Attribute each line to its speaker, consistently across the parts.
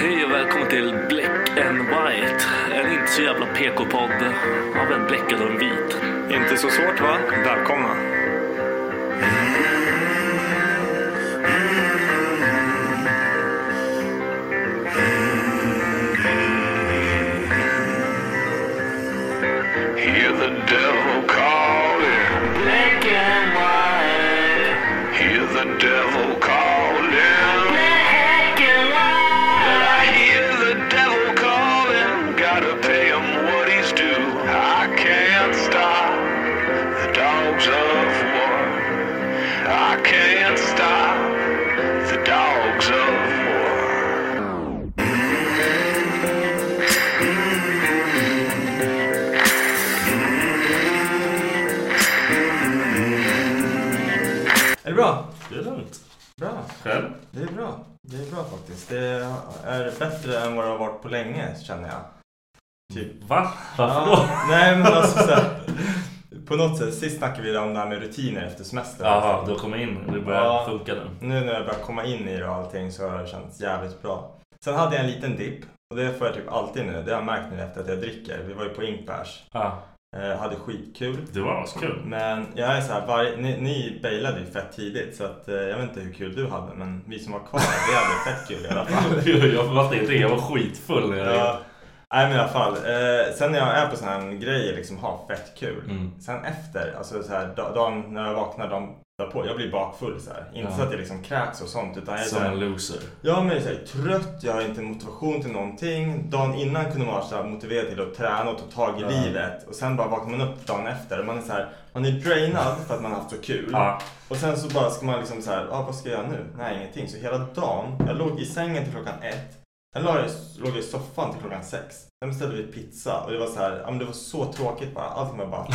Speaker 1: Hej och välkommen till Black and White. En inte så jävla PK-podd av en bläckad och en vit.
Speaker 2: Inte så svårt va? Välkomna.
Speaker 3: Hear the devil calling. Black and white. Hear the devil calling. Black and white. I hear the devil calling. Gotta pay him what he's due. I can't stop the dogs of war. I can't stop the dogs of war.
Speaker 2: Är det bra?
Speaker 1: Det är lugnt.
Speaker 2: Bra.
Speaker 1: Själv?
Speaker 2: Det är bra. Det är bra faktiskt. Det är bättre än vad det har varit på länge känner jag. Typ.
Speaker 1: Va? Varför då?
Speaker 2: Ja, nej men alltså så här, På något sätt. Sist snackade vi om det här med rutiner efter semester.
Speaker 1: Jaha, du kommer in. Det börjar
Speaker 2: Ja.
Speaker 1: funka nu.
Speaker 2: Nu när jag börjar komma in i det och allting så har det känts jävligt bra. Sen hade jag en liten dipp. Och det får jag typ alltid nu. Det har jag märkt nu efter att jag dricker. Vi var ju på Inkbärs.
Speaker 1: Ja,
Speaker 2: Eh, hade skitkul.
Speaker 1: det var askul.
Speaker 2: Men jag är så här, varje, ni, ni bailade ju fett tidigt så att, eh, jag vet inte hur kul du hade men vi som var kvar, vi hade fett kul i alla fall.
Speaker 1: Jag var inte jag var skitfull. när jag
Speaker 2: Ja. Nej men i alla fall. Eh, sen när jag är på sådana här grejer, liksom ha fett kul.
Speaker 1: Mm.
Speaker 2: Sen efter, alltså så här, da- dagen när jag vaknar, dagen därpå, jag blir bakfull så här. Inte
Speaker 1: Ja.
Speaker 2: så att jag liksom kräks och sånt utan jag är så
Speaker 1: Som en
Speaker 2: här,
Speaker 1: loser.
Speaker 2: jag är så här, trött, jag har inte motivation till någonting. Dagen innan kunde man vara så här, motiverad till att träna och ta tag i
Speaker 1: Ja.
Speaker 2: livet. Och sen bara vaknar man upp dagen efter och man är så här, man är drainad för att man har haft så kul.
Speaker 1: Ja.
Speaker 2: Och sen så bara ska man liksom så här, ah, vad ska jag göra nu? Nej, ingenting. Så hela dagen, jag låg i sängen till klockan ett. Sen la jag, låg jag i soffan till klockan sex. Sen beställde vi pizza och det var så här, ja men det var så tråkigt bara. Allting var bara...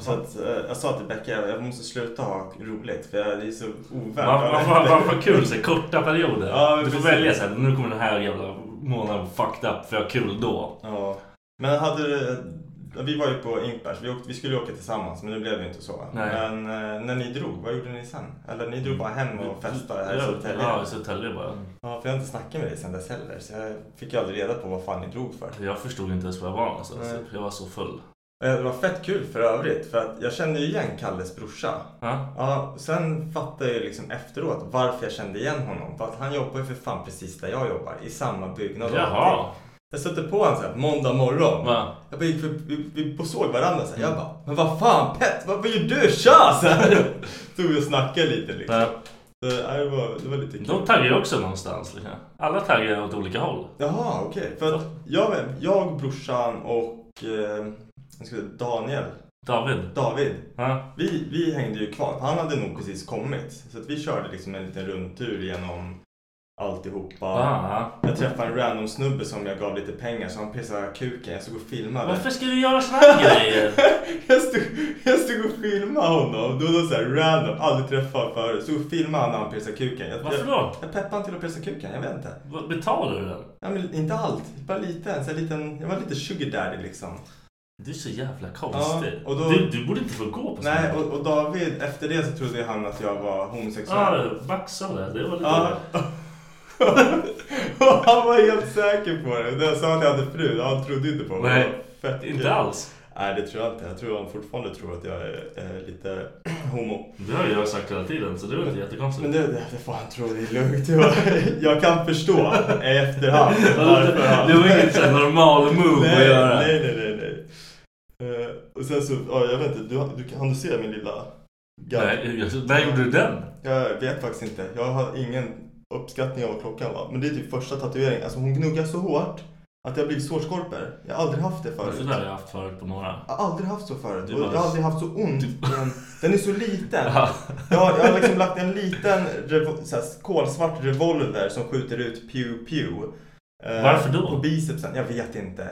Speaker 2: så att, eh, jag sa till Becka, jag jag måste sluta ha roligt för jag- det är så ovärt.
Speaker 1: Vad- vad- vad- Vad vad kul, så här, korta perioder.
Speaker 2: Ja,
Speaker 1: du får
Speaker 2: precis.
Speaker 1: välja så här, nu kommer den här jävla månaden fucked up för jag har kul då.
Speaker 2: Ja. Men hade du... Vi var ju på Inkbärs, vi, åkte, vi skulle ju åka tillsammans men det blev ju inte så.
Speaker 1: Nej.
Speaker 2: Men eh, när ni drog, vad gjorde ni sen? Eller ni drog bara hem och festade här i
Speaker 1: Mm. Ja,
Speaker 2: Södertälje?
Speaker 1: Ja, i Södertälje bara.
Speaker 2: Ja, för jag har inte snackat med dig sen dess heller, så jag fick ju aldrig reda på vad fan ni drog för.
Speaker 1: Jag förstod inte ens var jag var någonstans.
Speaker 2: Nej.
Speaker 1: typ. Jag var så full.
Speaker 2: Eh, Det var fett kul för övrigt, för att jag kände ju igen Kalles brorsa.
Speaker 1: Ja.
Speaker 2: Ja, sen fattade jag ju liksom efteråt varför jag kände igen honom. För att han jobbar ju för fan precis där jag jobbar, i samma byggnad och allting.
Speaker 1: Jaha.
Speaker 2: Jag stötte på honom såhär måndag morgon.
Speaker 1: Va?
Speaker 2: Jag bara gick för, vi, vi såg varandra såhär. Jag bara, men vad fan Pet, vad gör du? Tja! Så här. Stod vi och snackade lite liksom.
Speaker 1: Ja.
Speaker 2: Så, ja, det, var, det var lite kul.
Speaker 1: De taggar ju också någonstans. Liksom. Alla taggar åt olika håll.
Speaker 2: Jaha, okej. För att jag, jag, brorsan och eh, jag ska säga, Daniel
Speaker 4: David?
Speaker 2: David,
Speaker 4: Ja.
Speaker 2: vi, vi hängde ju kvar. Han hade nog precis kommit. Så att vi körde liksom en liten rundtur genom alltihopa.
Speaker 4: Ah.
Speaker 2: Jag träffade en random snubbe som jag gav lite pengar så han pissade kuken. Jag stod och filmade.
Speaker 4: Varför ska du göra såna här grejer?
Speaker 2: jag, stod, jag stod och filmade honom. Då var det så här random, aldrig träffat förut. Stod och filmade honom när han pissade kuken. Jag,
Speaker 4: Varför
Speaker 2: jag,
Speaker 4: då?
Speaker 2: Jag peppade honom till att pissa kuken, jag vet inte.
Speaker 4: Vad- Betalar du den?
Speaker 2: Ja, men inte allt, bara lite. En sån här liten, jag var lite sugar daddy liksom.
Speaker 4: Du är så jävla konstig.
Speaker 2: Ja, och då-
Speaker 4: du, du borde inte få gå på såna
Speaker 2: Nej,
Speaker 4: här.
Speaker 2: och, och David, efter det så trodde han att jag var homosexuell.
Speaker 4: Ah, baxade. Det var lite...
Speaker 2: Ja. Och han var helt säker på det. När jag sa att jag hade fru, han trodde inte på det.
Speaker 4: Nej,
Speaker 2: Det var fett kul.
Speaker 4: Inte alls.
Speaker 2: Nej, det tror jag inte. Jag tror han fortfarande tror att jag är, eh, lite homo.
Speaker 4: Det har jag sagt hela tiden, så det var inte jättekonstigt.
Speaker 2: Men det, det, det får han tro, det är lugnt. Jag, jag kan förstå i efterhand varför han...
Speaker 4: Det var inget såhär normal move att
Speaker 2: nej,
Speaker 4: göra.
Speaker 2: Nej, nej, nej. nej. Eh, och sen så, ja jag vet inte, du, du, kan du se min lilla gadd?
Speaker 4: Nej, jag, när gjorde du den?
Speaker 2: Jag vet faktiskt inte. Jag har ingen uppskattning av vad klockan var. Men det är typ första tatueringen. Alltså hon gnuggar så hårt att jag har blivit sårskorpor. Jag har aldrig haft det förut.
Speaker 4: Sådär har jag haft förut på några.
Speaker 2: Jag har aldrig haft så förut.
Speaker 4: Du
Speaker 2: Och
Speaker 4: bara-
Speaker 2: jag har aldrig haft så ont. Den, den är så liten.
Speaker 4: typ- Ja.
Speaker 2: Jag har, jag har liksom lagt en liten revo, så här, kolsvart revolver som skjuter ut pew pew. eh,
Speaker 4: Varför då?
Speaker 2: På bicepsen. Jag vet inte.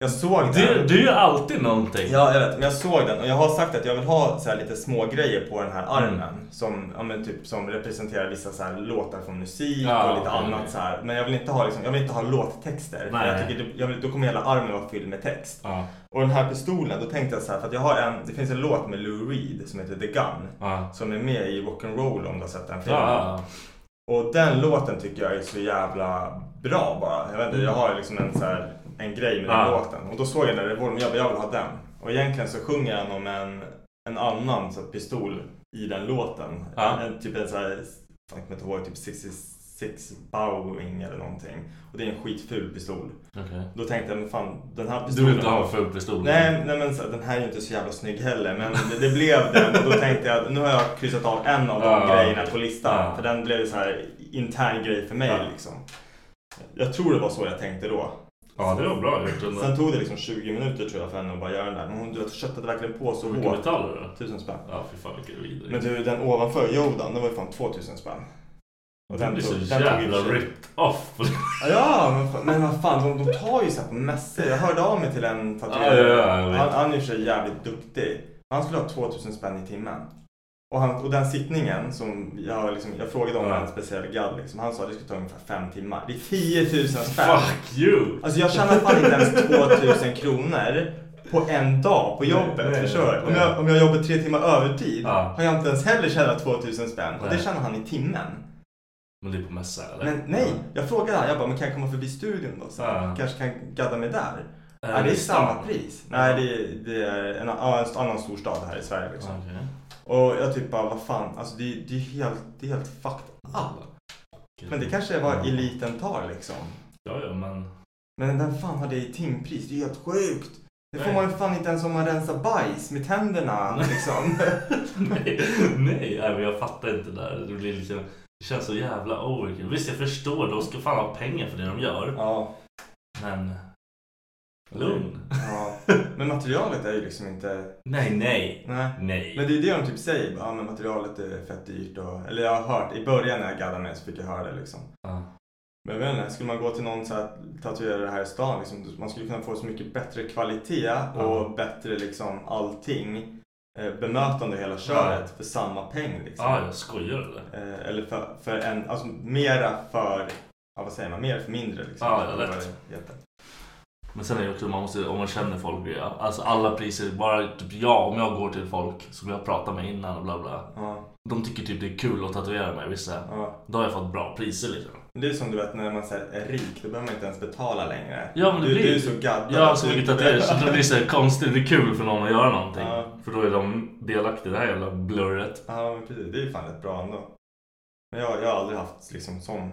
Speaker 2: Jag såg den.
Speaker 4: Du, du är alltid någonting.
Speaker 2: Ja, jag vet. Men jag såg den och jag har sagt att jag vill ha så här lite små grejer på den här armen.
Speaker 4: Mm.
Speaker 2: Som, ja, men typ, som representerar vissa så här låtar från musik
Speaker 4: Ja,
Speaker 2: och lite
Speaker 4: okej.
Speaker 2: annat så här. Men jag vill inte ha, liksom, jag vill inte ha låttexter. För
Speaker 4: Nej.
Speaker 2: Jag tycker, det- jag vill, då kommer hela armen vara fylld med text.
Speaker 4: Ja.
Speaker 2: Och den här pistolen, då tänkte jag så här. För att jag har en, det finns en låt med Lou Reed som heter The Gun.
Speaker 4: Ja.
Speaker 2: Som är med i Rock'n'Roll om du har sett den
Speaker 4: Ja,
Speaker 2: filmen.
Speaker 4: ja.
Speaker 2: Och den låten tycker jag är så jävla bra bara. Jag vet inte, jag har liksom en, så här, en grej med den
Speaker 4: Ah.
Speaker 2: låten. Och då såg jag den där revolvern, jag bara, jag vill ha den. Och egentligen så sjunger han om en, en annan så här, pistol i den låten.
Speaker 4: Ah.
Speaker 2: En, typ en så här, fan, jag kommer inte ihåg, typ 66 Bowing eller någonting. Och det är en skitful pistol.
Speaker 4: Okej.
Speaker 2: Då tänkte jag, men fan den här
Speaker 4: Du
Speaker 2: pistolen.
Speaker 4: vill inte ha en ful pistol?
Speaker 2: Nej, nej men så, här, den här är ju inte så jävla snygg heller. Men det, det blev den. Och då tänkte jag att nu har jag kryssat av en av de
Speaker 4: Ja.
Speaker 2: grejerna på listan.
Speaker 4: Ja.
Speaker 2: För den blev så här intern grej för mig
Speaker 4: Ja.
Speaker 2: liksom. Jag tror det var så jag tänkte då.
Speaker 4: Ja, det var bra gjort ändå.
Speaker 2: Sen tog det liksom 20 minuter tror jag för henne att bara göra den där. Men hon du vet, köttade verkligen på så
Speaker 4: Hur mycket
Speaker 2: hårt.
Speaker 4: betalar du då?
Speaker 2: Tusen spänn.
Speaker 4: Ja, fy fan vilken vidrig.
Speaker 2: Men du, den ovanför Jodan, den var ju fan 2000 spänn. Och
Speaker 4: Du blir så
Speaker 2: i och för
Speaker 4: jävla
Speaker 2: sig-
Speaker 4: ripped off.
Speaker 2: Ja, men, fan- men vad fan, de, de tar ju så här på mässor. Jag hörde av mig till en
Speaker 4: Ja,
Speaker 2: tatuerare.
Speaker 4: ja, ja, jag vet.
Speaker 2: han, han är i och för sig jävligt duktig. Han skulle ha 2000 spänn i timmen. Och, han, och den sittningen som jag, liksom, jag frågade om
Speaker 4: Ja.
Speaker 2: en speciell gadd. Liksom, han sa att det skulle ta ungefär fem timmar. Det är 10 000 spänn.
Speaker 4: Fuck you!
Speaker 2: Alltså jag tjänar fan inte ens 2000 kronor på en dag på jobbet.
Speaker 4: Nej, nej,
Speaker 2: förstår du? Om
Speaker 4: nej.
Speaker 2: jag, om jag jobbar tre timmar övertid
Speaker 4: Ja.
Speaker 2: har jag inte ens heller tjänat 2000 spänn. Och det
Speaker 4: Nej.
Speaker 2: tjänar han i timmen.
Speaker 4: Men det är på mässa eller?
Speaker 2: Men nej, jag frågade han. Jag bara, men kan jag komma förbi studion då? Så
Speaker 4: Ja.
Speaker 2: Kanske kan gadda mig där?
Speaker 4: Ja. Äh,
Speaker 2: Nej, det är samma
Speaker 4: stan.
Speaker 2: pris. Nej, det, det är en, ja, en annan stor stad här i Sverige liksom.
Speaker 4: Okej.
Speaker 2: Och jag typ bara, vad fan, alltså det, det, är, helt, det är helt fucked up.
Speaker 4: Mm.
Speaker 2: Men det kanske är vad eliten tar liksom.
Speaker 4: Ja, ja, men...
Speaker 2: Men den fan har det i timpris, det är helt sjukt. Det får
Speaker 4: Nej.
Speaker 2: man ju fan inte ens om man rensar bajs med tänderna liksom.
Speaker 4: nej, nej, nej, men jag fattar inte det där. Det, blir liksom, det känns så jävla overkill. Visst, jag förstår. De ska fan ha pengar för det de gör.
Speaker 2: ja.
Speaker 4: Men... Lugn.
Speaker 2: ja. Men materialet är ju liksom inte,
Speaker 4: Nej, nej.
Speaker 2: nej.
Speaker 4: Nej.
Speaker 2: Men det är det de typ säger, ja men materialet är fett dyrt och, eller jag har hört, i början när jag gaddade mig så fick jag höra det liksom.
Speaker 4: Ja.
Speaker 2: Men jag vet inte, skulle man gå till någon så här tatuerare här i stan, liksom, man skulle kunna få så mycket bättre kvalitet och bättre liksom allting. Eh, bemötande och hela köret för samma peng. Liksom.
Speaker 4: Ah, jag skojar eller?
Speaker 2: Eh, eller för, för en, alltså mera för, ja, vad säger man, mer för mindre. Liksom.
Speaker 4: Ja, ja,
Speaker 2: Eller vad
Speaker 4: lätt.
Speaker 2: det heter.
Speaker 4: Men sen är det också, man måste, om man känner folk, ja. alltså alla priser, bara typ jag, om jag går till folk som jag pratar med innan och bla bla.
Speaker 2: Ja,
Speaker 4: De tycker typ det är kul att tatuera mig, vissa.
Speaker 2: ja.
Speaker 4: Då har jag fått bra priser liksom.
Speaker 2: Men Det är som du vet när man så här, är rik, då behöver man inte ens betala längre.
Speaker 4: Ja, men det
Speaker 2: du,
Speaker 4: blir-
Speaker 2: du är så gaddad.
Speaker 4: Jag har
Speaker 2: att
Speaker 4: så
Speaker 2: du-
Speaker 4: mycket tatueringar så det blir så här konstigt, det blir kul för någon att göra någonting.
Speaker 2: Ja.
Speaker 4: För då är de delaktiga i det här jävla blurret.
Speaker 2: Ja, men precis. Det är ju fan rätt bra ändå. Men jag, jag har aldrig haft liksom sån...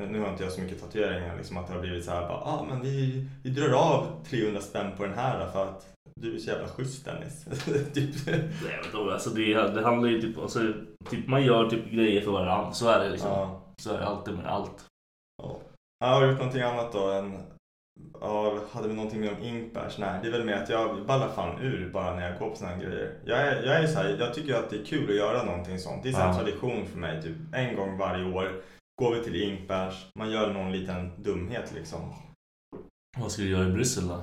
Speaker 2: Nu, nu har inte jag så mycket tatueringar liksom att det har blivit så här bara, ah, men vi, vi drar av 300 spänn på den här då, för att du är så jävla schysst Dennis. typ.
Speaker 4: Nej, jag vet inte, alltså det, det handlar ju typ, alltså, typ, man gör typ grejer för varandra. Så är det liksom.
Speaker 2: Ja.
Speaker 4: Så är det alltid med allt.
Speaker 2: Ja. Jag har du gjort någonting annat då än Ja, hade vi någonting med om inkbärs? Nej, det är väl mer att jag ballar fan ur bara när jag går på såna här grejer. Jag är, jag är så här, jag tycker att det är kul att göra någonting sånt. Det är så här
Speaker 5: Ja.
Speaker 2: tradition för mig, typ en gång varje år går vi till inkbärs, man gör någon liten dumhet liksom.
Speaker 4: Vad ska du göra i Bryssel då?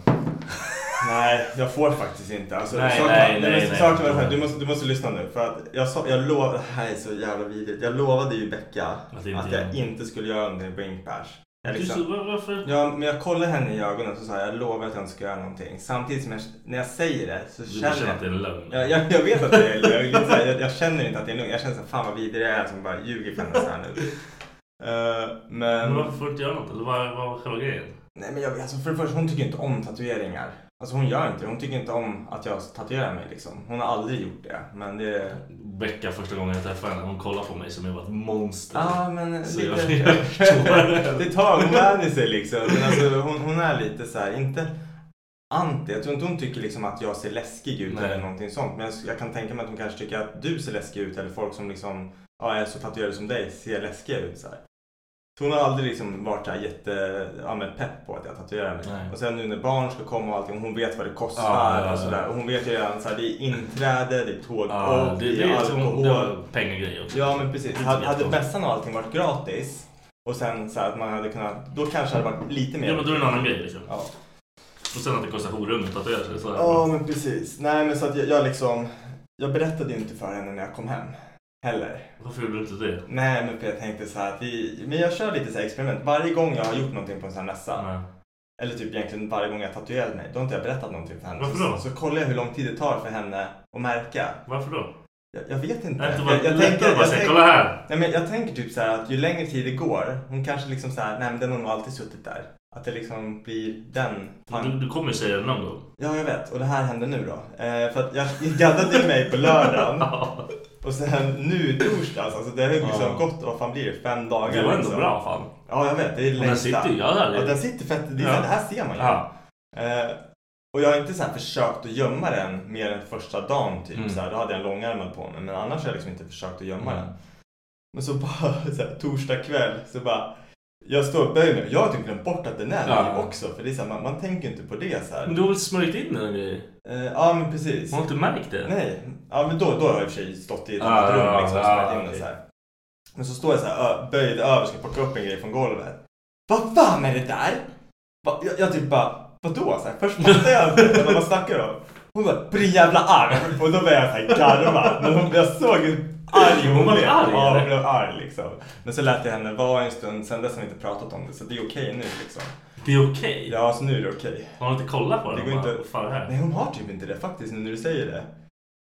Speaker 2: Nej, jag får faktiskt inte. Alltså,
Speaker 4: Nej,
Speaker 2: saken-
Speaker 4: nej, nej,
Speaker 2: men
Speaker 4: nej.
Speaker 2: saken var så här, du, måste, du måste lyssna nu. För att jag, sa, jag lov, det här är så jävla vidrigt. Jag lovade ju Becka
Speaker 4: Att
Speaker 2: att,
Speaker 4: inte göra.
Speaker 2: jag inte skulle göra någonting på Ingpers. Jag
Speaker 4: Du,
Speaker 2: liksom,
Speaker 4: så- var- varför?
Speaker 2: ja, men jag kollade henne i ögonen och så sa jag, jag lovar att jag inte ska göra någonting. Samtidigt som jag, när jag säger det så
Speaker 4: Du känner att det är
Speaker 2: jag...
Speaker 4: en lögn?
Speaker 2: Jag, jag, jag vet att det är lögn. Jag, jag, jag känner inte att det är lögn. Jag känner så här, fan vad vidrig jag är som bara ljuger för henne så här nu. Eh,
Speaker 4: Men
Speaker 2: men...
Speaker 4: varför får du inte göra något? Eller vad vad var själva grejen?
Speaker 2: Nej men jag, alltså för det första, hon tycker inte om tatueringar. Alltså hon gör inte det. Hon tycker inte om att jag tatuerar mig liksom. Hon har aldrig gjort det. Men det...
Speaker 4: Becka första gången jag träffade henne, hon kollade på mig som jag var ett monster.
Speaker 2: Ja ah, men
Speaker 4: Så
Speaker 2: lite...
Speaker 4: jag- jag förstår.
Speaker 2: det tar hon vänjer sig liksom. Men alltså hon, hon är lite så här, inte anti. Jag tror inte hon tycker liksom att jag ser läskig ut
Speaker 4: Nej.
Speaker 2: eller någonting sånt. Men jag, jag kan tänka mig att hon kanske tycker att du ser läskig ut eller folk som liksom ja, är så tatuerade som dig ser läskiga ut så här. Så hon har aldrig liksom varit så här jätte, ja, men pepp på att jag tatuerar mig.
Speaker 4: Nej.
Speaker 2: Och sen nu när barn ska komma och allting, hon vet vad det kostar
Speaker 4: Ja, ja, ja.
Speaker 2: och sådär. Och hon vet ju redan så här, det är inträde, det är tåg
Speaker 4: Ja,
Speaker 2: och
Speaker 4: det, det är som
Speaker 2: alkohol.
Speaker 4: det var pengagrej också.
Speaker 2: Ja men precis.
Speaker 4: Det är
Speaker 2: Hade,
Speaker 4: inte
Speaker 2: hade
Speaker 4: jättekonstigt.
Speaker 2: bässan och allting varit gratis och sen så här att man hade kunnat, då kanske det hade varit lite mer.
Speaker 4: Ja men då är det en annan grej liksom.
Speaker 2: Ja.
Speaker 4: Och sen att det kostar horummet att tatuera sig. sådär.
Speaker 2: Ja, men precis. Nej men så att jag, jag liksom, jag berättade ju inte för henne när jag kom hem heller.
Speaker 4: Varför gjorde du inte det?
Speaker 2: Nej men för jag tänkte så här att vi, men jag kör lite så här experiment. Varje gång jag har gjort någonting på en sån här mässa,
Speaker 4: Nej.
Speaker 2: eller typ egentligen varje gång jag tatuerat mig, då har inte jag berättat någonting för henne.
Speaker 4: Varför
Speaker 2: Så-
Speaker 4: då?
Speaker 2: Så kollar jag hur lång tid det tar för henne att märka.
Speaker 4: Varför då?
Speaker 2: Jag, jag vet inte.
Speaker 4: Nej, inte bara
Speaker 2: jag, jag tänker,
Speaker 4: lättare bara
Speaker 2: jag
Speaker 4: säga
Speaker 2: tänker-
Speaker 4: kolla här.
Speaker 2: Nej, men jag tänker typ så här att ju längre tid det går, hon kanske liksom så här, nej men den har nog alltid suttit där. Att det liksom blir den
Speaker 4: Du,
Speaker 2: tanken.
Speaker 4: du kommer ju säga det någon gång.
Speaker 2: Ja, jag vet. Och det här hände nu då. Eh, för att jag gaddade ju mig på lördagen
Speaker 4: Ja,
Speaker 2: och sen nu i torsdags, alltså det har ju liksom
Speaker 4: Ja.
Speaker 2: gått, vad fan blir det, fem dagar
Speaker 4: det var ändå
Speaker 2: liksom.
Speaker 4: bra fan.
Speaker 2: Ja, jag vet. Det är
Speaker 4: den
Speaker 2: längsta.
Speaker 4: sitter- ja, det är det.
Speaker 2: ja, den sitter fett. Det, är
Speaker 4: Ja.
Speaker 2: så här, det här ser man ju.
Speaker 4: Ja.
Speaker 2: Eh, och jag har inte så här försökt att gömma den mer än första dagen typ.
Speaker 4: Mm.
Speaker 2: Så här, då hade jag en långärmad på mig. Men annars har jag liksom inte försökt att gömma
Speaker 4: Mm.
Speaker 2: den. Men så bara så här, torsdag kväll så bara. Jag står och böjer mig. Jag har typ glömt bort att den är
Speaker 4: Ja.
Speaker 2: ja. också. För det är så här, man, man tänker ju inte på det så här.
Speaker 4: Men du har väl smörjt in den grejen?
Speaker 2: Eh, ja men precis.
Speaker 4: Har inte märkt det?
Speaker 2: Nej, ja, men då, då har jag i och för sig stått i ett
Speaker 4: Ah,
Speaker 2: annat rum liksom, och
Speaker 4: ah,
Speaker 2: smörjt in det
Speaker 4: okej.
Speaker 2: så här. Men så står jag så här, ö- böjd över ska plocka upp en grej från golvet. Vad fan är det där? Va, jag, jag typ bara, vadå? Så här, först fattar jag inte vad man snackar om. Hon bara, på din jävla arm! Och då började jag så här garva. Men hon, jag såg hur arg
Speaker 4: Hon var
Speaker 2: blev.
Speaker 4: arg,
Speaker 2: Ja,
Speaker 4: eller?
Speaker 2: hon blev arg liksom. Men så lät jag henne vara en stund, sen dess har vi inte pratat om det. Så det är okej nu liksom.
Speaker 4: Det är okej.
Speaker 2: Ja, så nu är det okej.
Speaker 4: Har hon inte kollat på den?
Speaker 2: Det går
Speaker 4: Bara,
Speaker 2: inte-
Speaker 4: "Vad fan är det här?
Speaker 2: Nej, hon har typ inte det faktiskt nu när du säger det.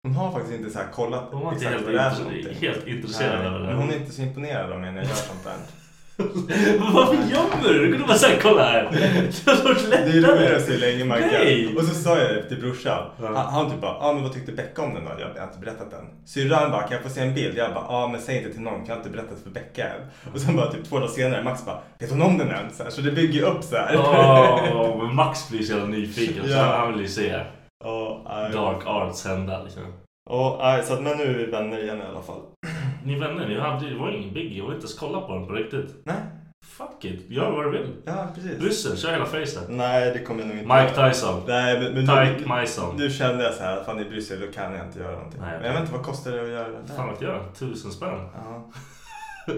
Speaker 2: Hon har faktiskt inte så här kollat
Speaker 4: Hon var inte
Speaker 2: exakt
Speaker 4: helt,
Speaker 2: vad det är för
Speaker 4: intre-
Speaker 2: någonting.
Speaker 4: helt intresserad
Speaker 2: Nej,
Speaker 4: av det
Speaker 2: men
Speaker 4: där.
Speaker 2: hon är inte så imponerad av mig när jag gör sånt där.
Speaker 4: Varför gömmer du? Du kunde bara säga kolla här. Det hade varit
Speaker 2: Det är ju
Speaker 4: lättare.
Speaker 2: roligare så länge man
Speaker 4: Nej.
Speaker 2: kan. Och så sa jag det till brorsan.
Speaker 4: Ja.
Speaker 2: Han, han typ bara, ah, men vad tyckte Becka om den då? Jag har inte berättat den. Syrran bara, kan jag få se en bild? Jag bara, ah, men säg inte till någon, för jag har inte berättat för Becka än. Och sen bara typ två dagar senare, Max bara, vet hon om den än? Så, här, så det bygger ju upp så här.
Speaker 4: Åh, men Max blir så jävla nyfiken. Så
Speaker 2: Ja.
Speaker 4: han vill ju se
Speaker 2: Ja, nej.
Speaker 4: Dark Arts hända liksom.
Speaker 2: Ja, nej, så att, men nu är vi vänner igen i alla fall.
Speaker 4: Ni vänner, ni hade, det var ingen biggie. Jag vill inte ens kolla på den på riktigt.
Speaker 2: Nej,
Speaker 4: Fuck it, gör vad du vill.
Speaker 2: ja precis.
Speaker 4: Bryssel, kör hela facet.
Speaker 2: Nej, det kommer jag nog inte
Speaker 4: Mike Tyson.
Speaker 2: Nej, Mm. men, men
Speaker 4: Tyke
Speaker 2: nu,
Speaker 4: Myson.
Speaker 2: nu kände jag så här, fan i Bryssel då kan jag inte göra någonting.
Speaker 4: Nej.
Speaker 2: men jag vet inte, vad kostar det att göra det
Speaker 4: Fan
Speaker 2: där?
Speaker 4: vet jag, tusen spänn.
Speaker 2: Ja.